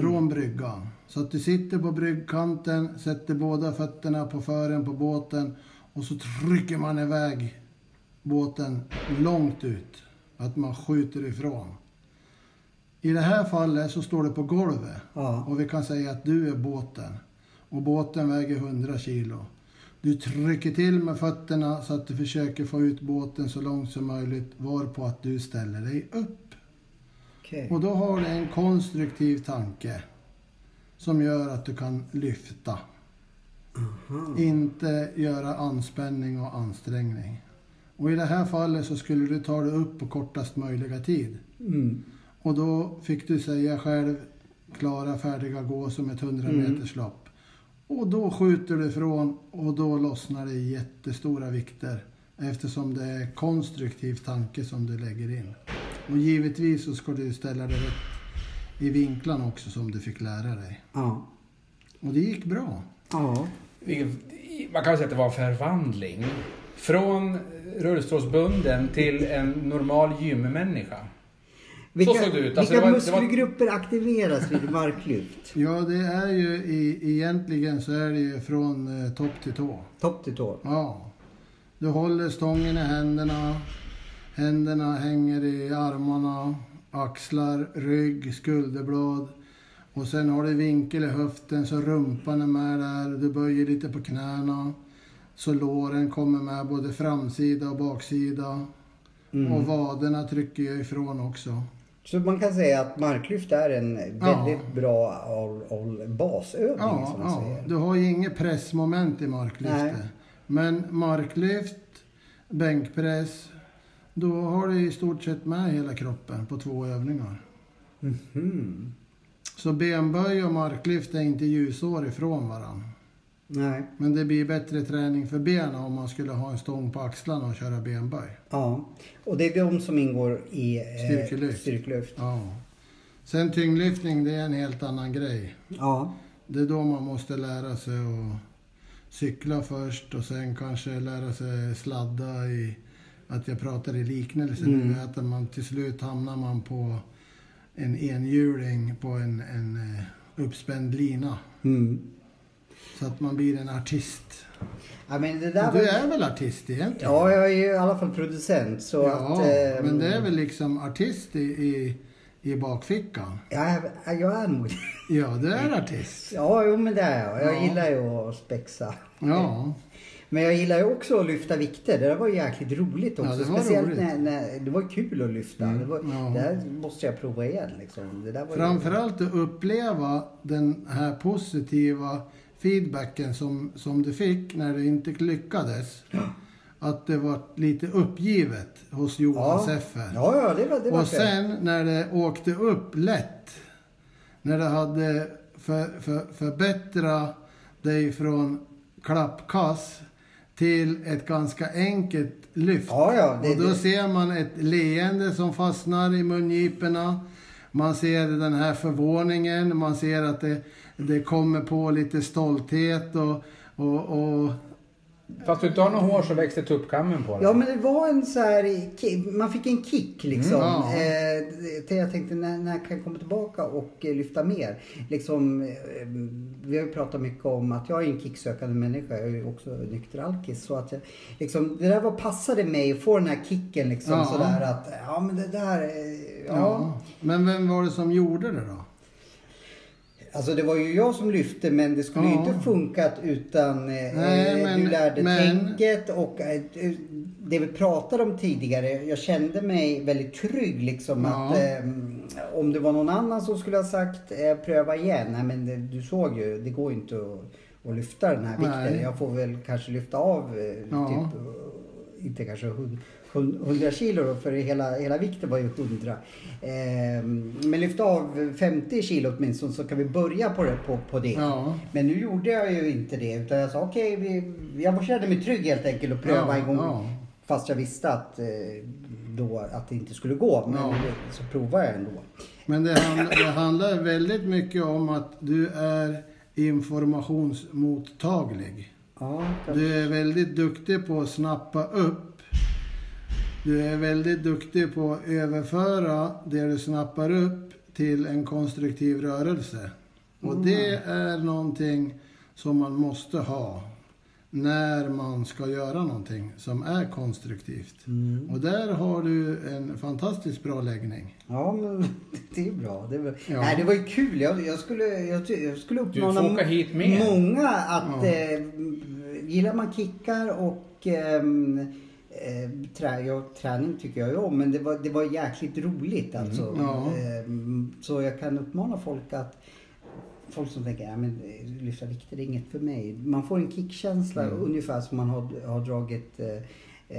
S3: från bryggan. Så att du sitter på bryggkanten, sätter båda fötterna på fören på båten och så trycker man iväg båten långt ut. Att man skjuter ifrån. I det här fallet så står det på golvet
S2: Ja.
S3: och vi kan säga att du är båten. Och båten väger 100 kilo. Du trycker till med fötterna så att du försöker få ut båten så långt som möjligt varpå att du ställer dig upp.
S2: okej.
S3: Och då har du en konstruktiv tanke som gör att du kan lyfta. Inte göra anspänning och ansträngning. Och i det här fallet så skulle du ta dig upp på kortast möjliga tid.
S2: Mm.
S3: Och då fick du säga själv, klara, färdiga, gå som ett 100 meters lopp. Och då skjuter du ifrån och då lossnar det jättestora vikter. Eftersom det är konstruktiv tanke som du lägger in. Och givetvis så ska du ställa dig rätt i vinklarna också som du fick lära dig.
S2: Ja.
S3: Och det gick bra.
S2: Ja.
S1: Vilket- Man kan säga att det var en förvandling. Från rullstolsbunden till en normal gymmänniska.
S2: Vilka,
S1: såg det ut. Alltså,
S2: vilka
S1: det var- det var-
S2: muskelgrupper aktiveras vid marklyft?
S3: Ja, det är ju i, egentligen så är det ju från eh, topp till tå.
S2: Topp till tå.
S3: Ja. Du håller stången i händerna. Händerna hänger i armarna, axlar, rygg, skulderblad. Och sen har du vinkel i höften så rumpan är med där. Du böjer lite på knäna. Så låren kommer med både framsida och baksida. Och vaderna trycker jag ifrån också.
S2: Så man kan säga att marklyft är en väldigt bra all, all basövning
S3: Ja,
S2: som man
S3: ja.
S2: säger.
S3: du har ju inget pressmoment i marklyftet.
S2: Nej.
S3: Men marklyft, bänkpress, då har du i stort sett med hela kroppen på två övningar.
S2: Mhm.
S3: Så benböj och marklyft är inte ljusår ifrån varandra.
S2: Nej.
S3: Men det blir bättre träning för benen om man skulle ha en stång på axlarna och köra benböj.
S2: Ja. Och det är de som ingår i eh,
S3: Styrkelyft.
S2: styrkelyft.
S3: Ja. Sen tyngdlyftning, det är en helt annan grej.
S2: Ja.
S3: Det är då man måste lära sig att cykla först och sen kanske lära sig sladda i... Att jag pratar i liknelse
S2: Mm.
S3: nu, att man till slut hamnar man på en enhjuling på en, en eh, uppspänd lina.
S2: Mm.
S3: Så att man blir en artist.
S2: ja men det där
S3: Du
S2: var...
S3: är väl artist egentligen?
S2: Ja, jag är ju i alla fall producent så att... eh,
S3: men det är väl liksom artist i, i, i bakfickan?
S2: Jag är, jag är nog... [LAUGHS]
S3: Ja, du är artist.
S2: Ja, jo men det är jag. Jag
S3: Ja.
S2: gillar ju att spexa.
S3: Ja.
S2: Men jag gillar ju också att lyfta vikter. Det där var ju jäkligt roligt också.
S3: Ja, det var
S2: Speciellt
S3: roligt. Mm,
S2: När, när det var kul att lyfta. Det, var,
S3: ja.
S2: det här måste jag prova igen liksom. Det där var ju-
S3: Framförallt att uppleva den här positiva feedbacken som, som du fick när du inte lyckades. att det var lite uppgivet hos Johan
S2: Ja.
S3: Seffer.
S2: Ja, ja, det var det. Var
S3: Och sen när det åkte upp lätt, när det hade för, för, förbättrat dig från klappkass till ett ganska enkelt lyft.
S2: Ja, ja, det-
S3: och då
S2: det-
S3: ser man ett leende som fastnar i mungiporna. Man ser den här förvåningen, man ser att det, det kommer på lite stolthet och, och, och
S1: Fast du inte har något hår så växte tuppkammen på dig.
S2: Ja, men det var en så här... ki- Man fick en kick liksom.
S3: Mm, ja.
S2: Eh, till jag tänkte, när, när kan jag komma tillbaka och eh, lyfta mer? Liksom, eh, vi har ju pratat mycket om att jag är en kicksökande människa. Jag är ju också nykter alkis. Så att jag, liksom, det där var passade mig att få den här kicken liksom
S3: Ja.
S2: sådär att, ja men det där, eh,
S3: ja.
S2: ja.
S3: Men vem var det som gjorde det då?
S2: Alltså det var ju jag som lyfte men det skulle ju
S3: Ja.
S2: inte funkat utan eh,
S3: Nej,
S2: eh, du
S3: men-
S2: lärde
S3: men-
S2: tänket och eh, eh, det vi pratade om tidigare. Jag kände mig väldigt trygg liksom
S3: Ja.
S2: att eh, om det var någon annan som skulle ha sagt eh, pröva igen. Nej men det, du såg ju, det går ju inte att, att lyfta den här vikten.
S3: Nej.
S2: Jag får väl kanske lyfta av eh,
S3: Ja.
S2: typ eh, inte kanske hund- hund- 100 kilo då, för hela, hela vikten var ju 100. Ehm, men lyft av 50 kilo åtminstone så kan vi börja på det. På, på det.
S3: Ja.
S2: Men nu gjorde jag ju inte det utan jag sa okej, vi- jag kände mig trygg helt enkelt och pröva
S3: Ja,
S2: en gång.
S3: ja.
S2: Fast jag visste att, eh, då, att det inte skulle gå. Men
S3: Ja.
S2: så provade jag ändå.
S3: Men det, handl det handlar väldigt mycket om att du är informationsmottaglig.
S2: Ja,
S3: Du är väldigt duktig på att snappa upp. Du är väldigt duktig på att överföra det du snappar upp till en konstruktiv rörelse. Och det är någonting som man måste ha när man ska göra någonting som är konstruktivt. Och där har du en fantastiskt bra läggning.
S2: ja men [LAUGHS] det är bra. Det var,
S3: Ja.
S2: Nej, det var ju kul. Jag, jag, skulle, jag, ty- jag skulle
S1: Du får
S2: uppmana
S1: åka hit med.
S2: många att
S3: Ja.
S2: eh, gillar man kickar och ehm, eh, trä, ja, träning tycker jag ju om men det var, det var jäkligt roligt
S1: Mm.
S2: alltså.
S3: ja.
S2: Ehm, så jag kan uppmana folk att Folk som tänker ja, men eh, lyfta vikter är inget för mig. Man får en kickkänsla
S1: Mm.
S2: ungefär som man har, har dragit eh,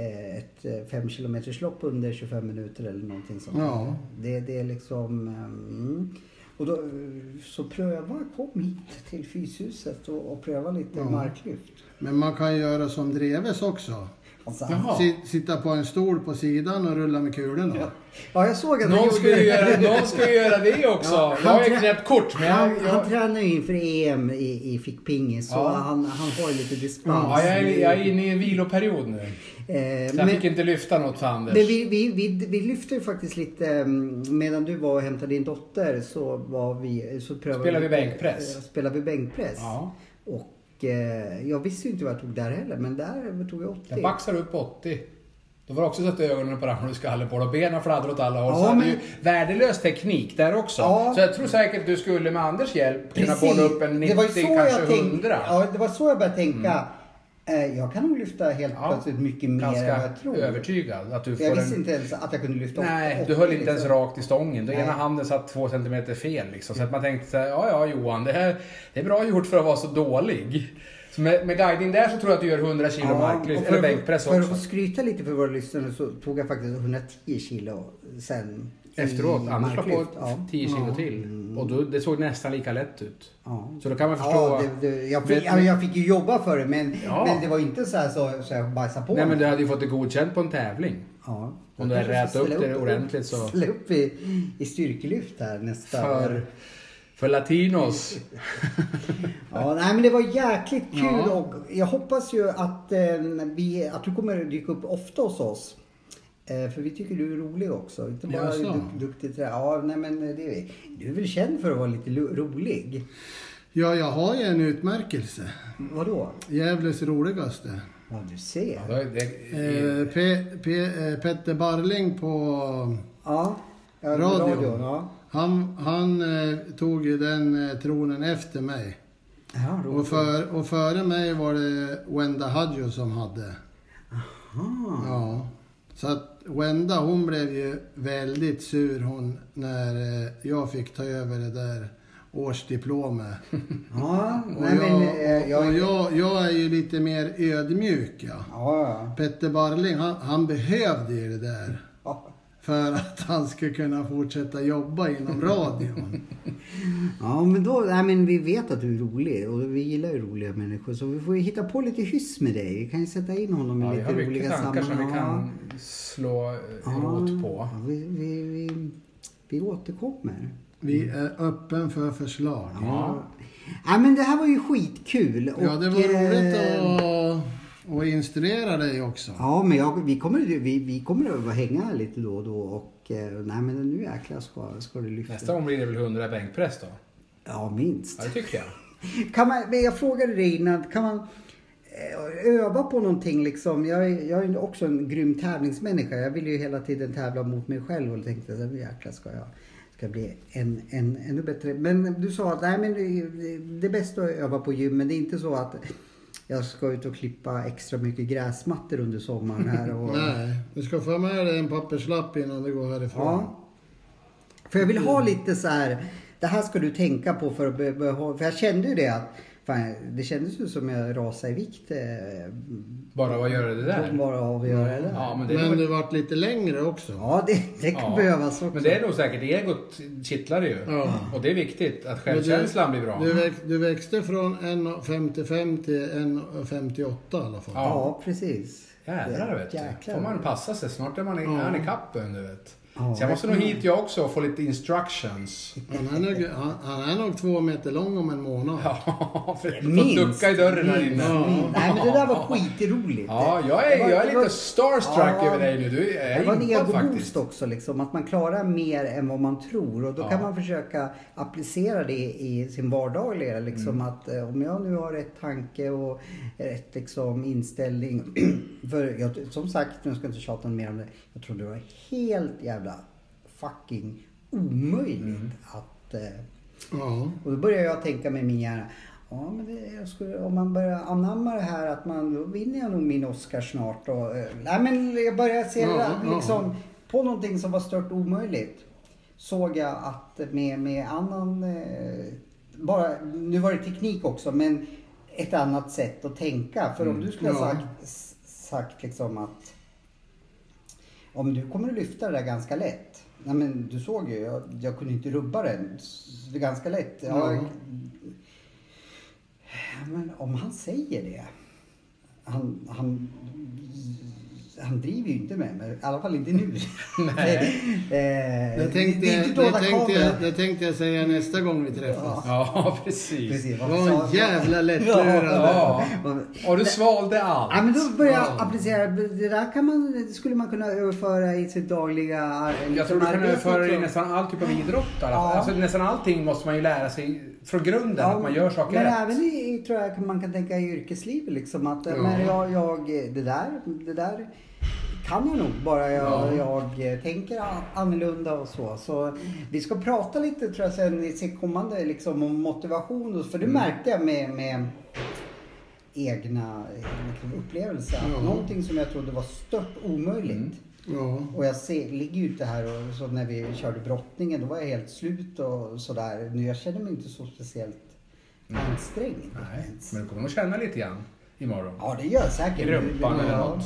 S2: eh, ett eh, fem kilometers lopp under 25 minuter eller någonting sånt.
S3: Ja.
S2: Det, det är liksom... eh, Mm. Och då, eh, så pröva, kom hit till Fyshuset och, och pröva lite
S3: Ja.
S2: marklyft.
S3: Men man kan göra som Dreves också.
S2: Alltså,
S1: Jaha.
S3: Si- Sitta på en stol på sidan och rulla med kulorna.
S2: Ja, jag såg att han
S1: Någon
S2: gjorde
S1: ska, ju göra, någon ska ju göra det också. jag har ju
S2: trä-
S1: knäppt kort, men
S2: han,
S1: jag, jag,
S2: han tränar ju inför EM i, i fickpingis så
S1: Ja.
S2: han, han har ju lite dispens.
S1: ja, jag, är, jag är inne i en viloperiod nu.
S2: Eh,
S1: Så jag
S2: men-
S1: fick inte lyfta något för Anders.
S2: Men vi, vi, vi, vi lyfte ju faktiskt lite, mm, medan du var och hämtade din dotter så var vi, så prövade
S1: Spelade vi bänkpress?
S2: eh, Spelade vi bänkpress.
S1: Ja.
S2: Och eh, jag visste ju inte vad jag tog där heller, men där tog jag 80.
S1: Jag baxar upp 80. Då var det också så att ögonen på ramlar och skallen på och benen fladdrar åt alla håll.
S2: Ja,
S1: så hade
S2: men-
S1: ju värdelös teknik där också.
S2: Ja.
S1: Så jag tror säkert att du skulle med Anders hjälp kunna
S2: Precis.
S1: bolla upp en
S2: Det
S1: 90,
S2: var ju så jag
S1: kanske 100.
S2: tänkte- Ja, det var så jag började tänka. Eh, jag kan nog lyfta helt
S1: Ja.
S2: plötsligt mycket mer än vad
S1: Ganska
S2: jag tror.
S1: övertygad att du får
S2: Jag visste
S1: en...
S2: inte ens att jag kunde lyfta
S1: Nej,
S2: 80,
S1: du höll inte ens
S2: liksom.
S1: rakt i stången. Den
S2: Nej.
S1: ena handen satt två centimeter fel liksom. Så att man tänkte så här, ja ja Johan, det, här, det är bra gjort för att vara så dålig. Så med, med guidning där så tror jag att du gör 100 kilo
S2: och
S1: marklyft,
S2: för
S1: eller
S2: att-
S1: bänkpress
S2: För
S1: också.
S2: att få skryta lite för våra lyssnare så tog jag faktiskt 110 kilo sen.
S1: Efteråt,
S2: i
S1: Anders la på
S2: Mm, marklyft. Ja.
S1: 10 kilo till. Och då, det såg nästan lika lätt ut.
S2: Ja.
S1: Så då kan man förstå...
S2: Ja, det, det, jag, fick, ja, jag fick ju jobba för det men,
S1: Ja.
S2: men det var inte så här så, så jag bajsade på
S1: Nej men
S2: mig.
S1: du hade ju fått det godkänt på en tävling.
S2: Ja.
S1: Om du
S2: Jag
S1: hade
S2: kanske
S1: rätat
S2: ska
S1: upp
S2: ställa
S1: det ordentligt så-
S2: Ställa upp i, i styrkelyft här nästa år.
S1: För, för latinos.
S2: Ja, nej, men det var jäkligt kul
S3: Ja.
S2: och jag hoppas ju att, eh, vi, att du kommer att dyka upp ofta hos oss. Eh, för vi tycker du är rolig också. Inte bara
S3: Jaså?
S2: duk, duktig trä. Ja, nej, men det är, vi. Du är väl känd för att vara lite lo- rolig?
S3: Ja, jag har ju en utmärkelse.
S2: Vadå?
S3: Gävles roligaste.
S2: Ja, du ser.
S1: Ja, det- det-
S3: Eh, Pe, Pe, eh, Petter Barling på...
S2: Ja. ja,
S3: Radio.
S2: ja.
S3: Han, han eh, tog ju den eh, tronen efter mig.
S2: Ja, roligt.
S3: Och, för, och före mig var det Wenda Hadjo som hade. Ja. Så att Wenda hon blev ju väldigt sur hon när eh, jag fick ta över det där
S2: [LAUGHS]
S3: årsdiplomet.
S2: Ja,
S3: Och,
S2: nej, men, eh,
S3: jag, och
S2: jag, ja,
S3: jag, jag är ju lite mer ödmjuk. Ja.
S2: ja.
S3: Petter Barling, han, han behövde ju det där
S2: ja.
S3: för att han skulle kunna fortsätta jobba
S2: [LAUGHS]
S3: inom radion.
S2: Ja, men då, nej, men vi vet att du är rolig och vi gillar ju roliga människor så vi får ju hitta på lite hyss med dig. Vi kan ju sätta in honom i
S1: Ja, vi har
S2: lite
S1: mycket
S2: roliga
S1: tankar
S2: sammanhang.
S1: som vi kan slå eh, rot på.
S2: Ja, vi, vi, vi, vi återkommer.
S3: Vi är öppen för förslag.
S1: Ja.
S2: Ja, men det här var ju skitkul. Och, eh,
S3: Ja, det var roligt att, att instruera dig också.
S2: Ja, men jag, vi, kommer, vi, vi kommer att hänga lite då och då och eh, nej men nu jäklar ska, ska det lyfta.
S1: Nästa gång blir det väl 100 bänkpress då?
S2: Ja, minst.
S1: Ja, det tycker jag.
S2: Kan man, men jag frågade dig innan, kan man eh, öva på någonting liksom? Jag, är- jag är ju också en grym tävlingsmänniska. Jag vill ju hela tiden tävla mot mig själv och tänkte så här, "Nu jäklar ska jag ska bli en, en, ännu bättre. Men du sa att nej, men det, det är bäst att öva på gym, men det är inte så att jag ska ut och klippa extra mycket gräsmattor under sommaren här. Och,
S3: [LAUGHS] Nej, du ska få med dig en papperslapp innan du går härifrån.
S2: Ja. För jag vill ha
S1: Mm.
S2: lite så här, det här ska du tänka på för att be- behå- För jag kände ju det att, fan, det kändes ju som jag rasade i vikt. eh,
S1: Bara vad gör det där?
S2: Bara av att göra det där.
S1: Ja, men det är
S3: Men
S1: nog-
S3: du vart lite längre också.
S2: Ja, det, det kan
S1: Ja.
S2: behövas också.
S1: Men det är nog säkert, egot kittlar det ju.
S3: Ja.
S1: Och det är viktigt att
S3: Men du-
S1: självkänslan blir bra.
S3: Du, väx, du växte från 1,55 till 1,58 i alla
S1: Ja.
S3: fall.
S2: Ja, precis.
S1: Jädrar vet du.
S2: Jäklar.
S1: får man passa sig. Snart är man i, är man i kappen du vet.
S2: Ja,
S1: Så jag måste nog hit jag också och få lite instructions. [LAUGHS]
S3: Han, är nog, han, han är nog två meter lång om en månad.
S1: Ja, för
S2: Minst,
S1: får ducka i dörren här
S2: minst,
S1: inne.
S2: minst. Nej, men det där var skitroligt.
S1: Ja, jag
S2: Det
S1: är,
S2: var-
S1: jag är
S2: det var-
S1: lite starstruck
S2: Ja.
S1: över dig nu. Du jag
S2: Det var
S1: är
S2: en
S1: impad
S2: egoboost
S1: faktiskt.
S2: också, liksom, att man klarar mer än vad man tror. Och då
S1: Ja.
S2: kan man försöka applicera det i sin vardagliga. Liksom,
S1: Mm.
S2: att, eh, om jag nu har rätt tanke och rätt liksom, inställning. [CLEARS THROAT] för jag, som sagt, nu ska jag inte tjata mer om det. Jag tror det var helt jävla fucking omöjligt
S1: Mm.
S2: att eh,
S3: Ja.
S2: och då börjar jag tänka med min hjärna. Ja, men det, jag skulle, om man börjar anamma det här att man, då vinner jag nog min Oscar snart. Och, eh, nej, men jag börjar se det
S3: Ja,
S2: där,
S3: ja.
S2: liksom, på någonting som var stört omöjligt. Såg jag att med, med annan, eh, bara, nu var det teknik också, men ett annat sätt att tänka. För om du skulle ha
S3: Mm. Ja.
S2: sagt, s- sagt liksom att om du kommer att lyfta det där ganska lätt. Nej men du såg ju, jag, jag kunde inte rubba den. S- Det är ganska lätt. Ja,
S3: Ja.
S2: Men om han säger det. Han, han, han driver ju inte med mig. I alla fall inte nu. [LAUGHS] Eh, Nej.
S3: Det tänkte, jag, det, tänkte jag, det tänkte jag säga nästa gång vi träffas.
S1: Ja, [LAUGHS] precis.
S2: Precis,
S3: Vad en jävla lättlurad.
S1: Ja. Och du svalde
S2: Ja,
S1: allt.
S2: men då börjar jag applicera. Det där kan man, det skulle man kunna överföra i sitt dagliga ar-
S1: Jag tror du kan
S2: arbete
S1: överföra det i
S2: också.
S1: nästan all typ av idrott. i alla fall.
S2: Ja.
S1: Alltså, nästan allting måste man ju lära sig från grunden,
S2: Ja,
S1: att man gör saker
S2: Men
S1: rätt.
S2: även i, i- tror jag kan- man kan tänka i yrkeslivet liksom att eh,
S3: Ja.
S2: men jag, jag, eh, det, där, det där kan jag nog bara jag, jag eh, tänker a- annorlunda och så. Så vi ska prata lite tror jag sen i sitt kommande liksom om motivation och, för
S1: Mm.
S2: det märkte jag med, med egna eh, liksom, upplevelser. att
S3: Ja.
S2: Någonting som jag trodde var stört omöjligt.
S1: Mm.
S3: Ja.
S2: Och jag ser, ligger ju ute här och så när vi körde brottningen då var jag helt slut och sådär. Nu jag känner mig inte så speciellt
S3: Mm.
S2: ansträngd.
S1: Nej, men du kommer nog känna lite grann imorgon.
S2: Ja det gör jag säkert.
S1: I rumpan eller
S2: Ja,
S1: något.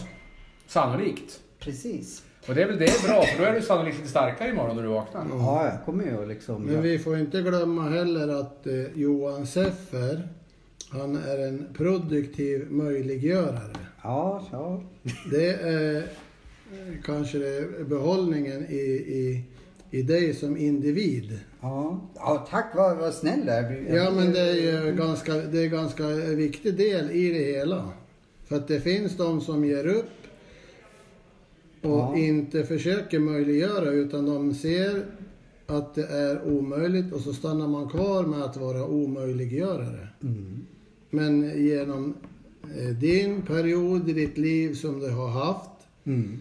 S1: Sannolikt.
S2: Precis.
S1: Och det är väl det är bra, för då är du sannolikt lite starkare imorgon när du vaknar.
S2: Ja, jag kommer ju att liksom...
S3: Mm. Men vi får inte glömma heller att eh, Johan Seffer, han är en produktiv möjliggörare.
S2: Ja, ja.
S3: Det är eh, kanske det är behållningen i, i, i dig som individ.
S2: Ja, ja tack vad, vad snäll du är.
S3: Ja, men det är ju ganska, det är en ganska viktig del i det hela. För att det finns de som ger upp och
S2: Ja.
S3: inte försöker möjliggöra utan de ser att det är omöjligt och så stannar man kvar med att vara omöjliggörare.
S2: Mm.
S3: Men genom eh, din period i ditt liv som du har haft,
S2: Mm.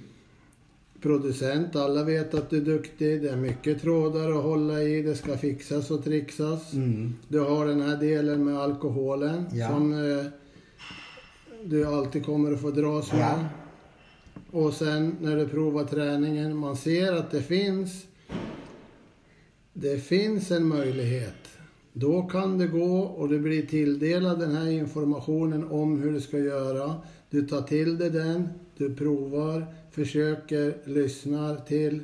S3: producent, alla vet att du är duktig, det är mycket trådar att hålla i, det ska fixas och trixas.
S2: Mm.
S3: Du har den här delen med alkoholen
S2: Ja.
S3: som eh, du alltid kommer att få dras med.
S2: Ja.
S3: Och sen när du provar träningen, man ser att det finns det finns en möjlighet. Då kan det gå och du blir tilldelad den här informationen om hur du ska göra. Du tar till dig den, du provar, försöker, lyssnar till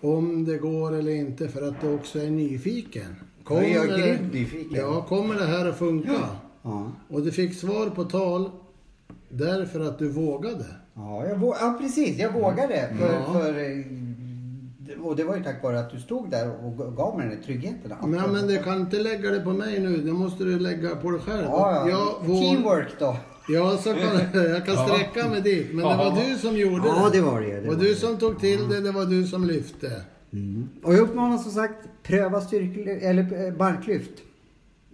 S3: om det går eller inte för att du också är nyfiken.
S5: Ja, jag är grymt nyfiken.
S3: Ja, kommer det här att funka?
S2: Ja.
S3: Och du fick svar på tal därför att du vågade.
S5: Ja, jag vå- ja precis. Jag vågade. För,
S3: Mm. Ja.
S5: för, eh, och det var ju tack vare att du stod där och g- gav mig den där tryggheten. Att-
S3: Men, men du kan inte lägga det på mig nu, det måste du lägga på dig själv.
S5: ja, ja.
S3: Jag, vår-
S5: Teamwork då.
S3: Ja, så kan, [LAUGHS] jag kan sträcka mig dit. Men det var du som gjorde
S2: Ja, det var det, det var
S3: var du
S2: det. Mm.
S3: som tog till det, det var du som lyfte. Mm.
S2: Och jag uppmanar som sagt, pröva styrkelyft, eller eh, marklyft.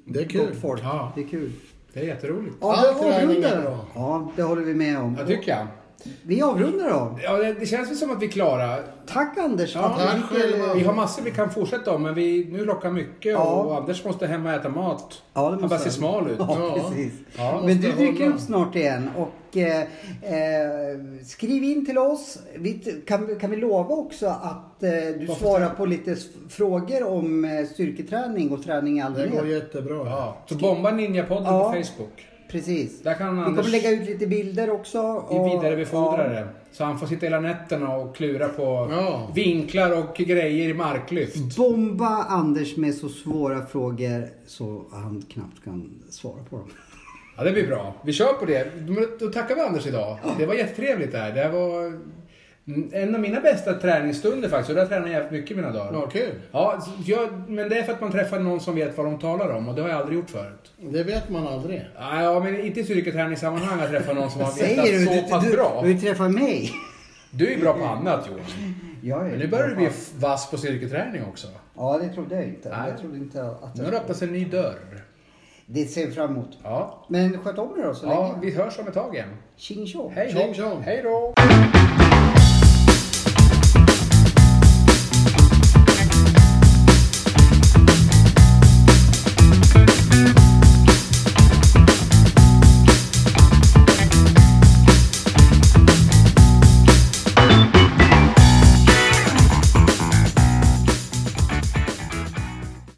S3: Det är kul.
S2: Gott folk.
S1: Ja.
S2: Det är kul.
S1: Det är jätteroligt.
S2: Ja,
S3: All
S2: vi
S3: träning är
S2: avrundar då.
S3: bra.
S2: Ja, det håller vi med om.
S1: Jag tycker jag.
S2: Vi avrundar då.
S1: Ja, det, det känns väl som att vi är klara.
S2: Tack Anders.
S1: Ja,
S2: att du
S3: tack
S2: fick, eh,
S3: själva.
S1: Vi har massor vi kan fortsätta om, men vi, nu lockar mycket
S2: Ja.
S1: och Anders måste hem och äta mat.
S2: Ja, det
S1: Han
S2: måste
S1: bara ser
S2: jag.
S1: smal ut.
S2: Ja,
S3: Ja.
S2: precis.
S1: Ja,
S2: Men du
S3: måste
S2: dyker
S3: hålla.
S2: upp snart igen och eh, eh, skriv in till oss. Vi, t- kan, kan vi lova också att eh, du svarar på lite s- frågor om eh, styrketräning och träning i
S3: Det går
S2: allmänhet?
S3: jättebra.
S1: Ja. Så bomba Ninjapodden
S2: Ja.
S1: på Facebook.
S2: Precis.
S1: Där kan
S2: Vi
S1: Anders-
S2: kommer lägga ut lite bilder också.
S1: Vi
S2: och-
S1: vidarebefordrar det. Så han får sitta hela nätterna och klura på
S3: Ja.
S1: vinklar och grejer i marklyft.
S2: Ja. Bomba Anders med så svåra frågor så han knappt kan svara på dem.
S1: Ja, det blir bra. Vi kör på det. Men Då tackar vi Anders idag. Det var jättetrevligt det här. Det här var mm, en av mina bästa träningsstunder faktiskt. Och där tränar jag jävligt mycket i mina dagar.
S3: Ja, kul.
S1: Ja, så jag, men det är för att man träffar någon som vet vad de talar om och det har jag aldrig gjort förut.
S3: Det vet man aldrig.
S1: Ja, ja, men inte i styrketräningssammanhang att träffa någon som har
S2: [LAUGHS] Säger du?
S1: vetat
S2: Du,
S1: så pass
S2: du,
S1: bra.
S2: du vill träffa mig?
S1: Du är ju bra på annat Johan.
S5: Jag är-
S1: Men nu börjar du bli f- vass på styrketräning också.
S5: Ja, det trodde jag inte.
S1: Nej.
S5: Jag trodde inte att
S1: Nu har
S5: jag...
S1: det öppnats en ny dörr.
S5: Det ser vi fram emot.
S1: Ja.
S5: Men sköt om er då så
S1: ja,
S5: länge.
S1: vi hörs om ett tag igen.
S5: Tjing tjong.
S1: Hej
S3: Tjing
S1: då!
S3: tjong.
S1: Hej då!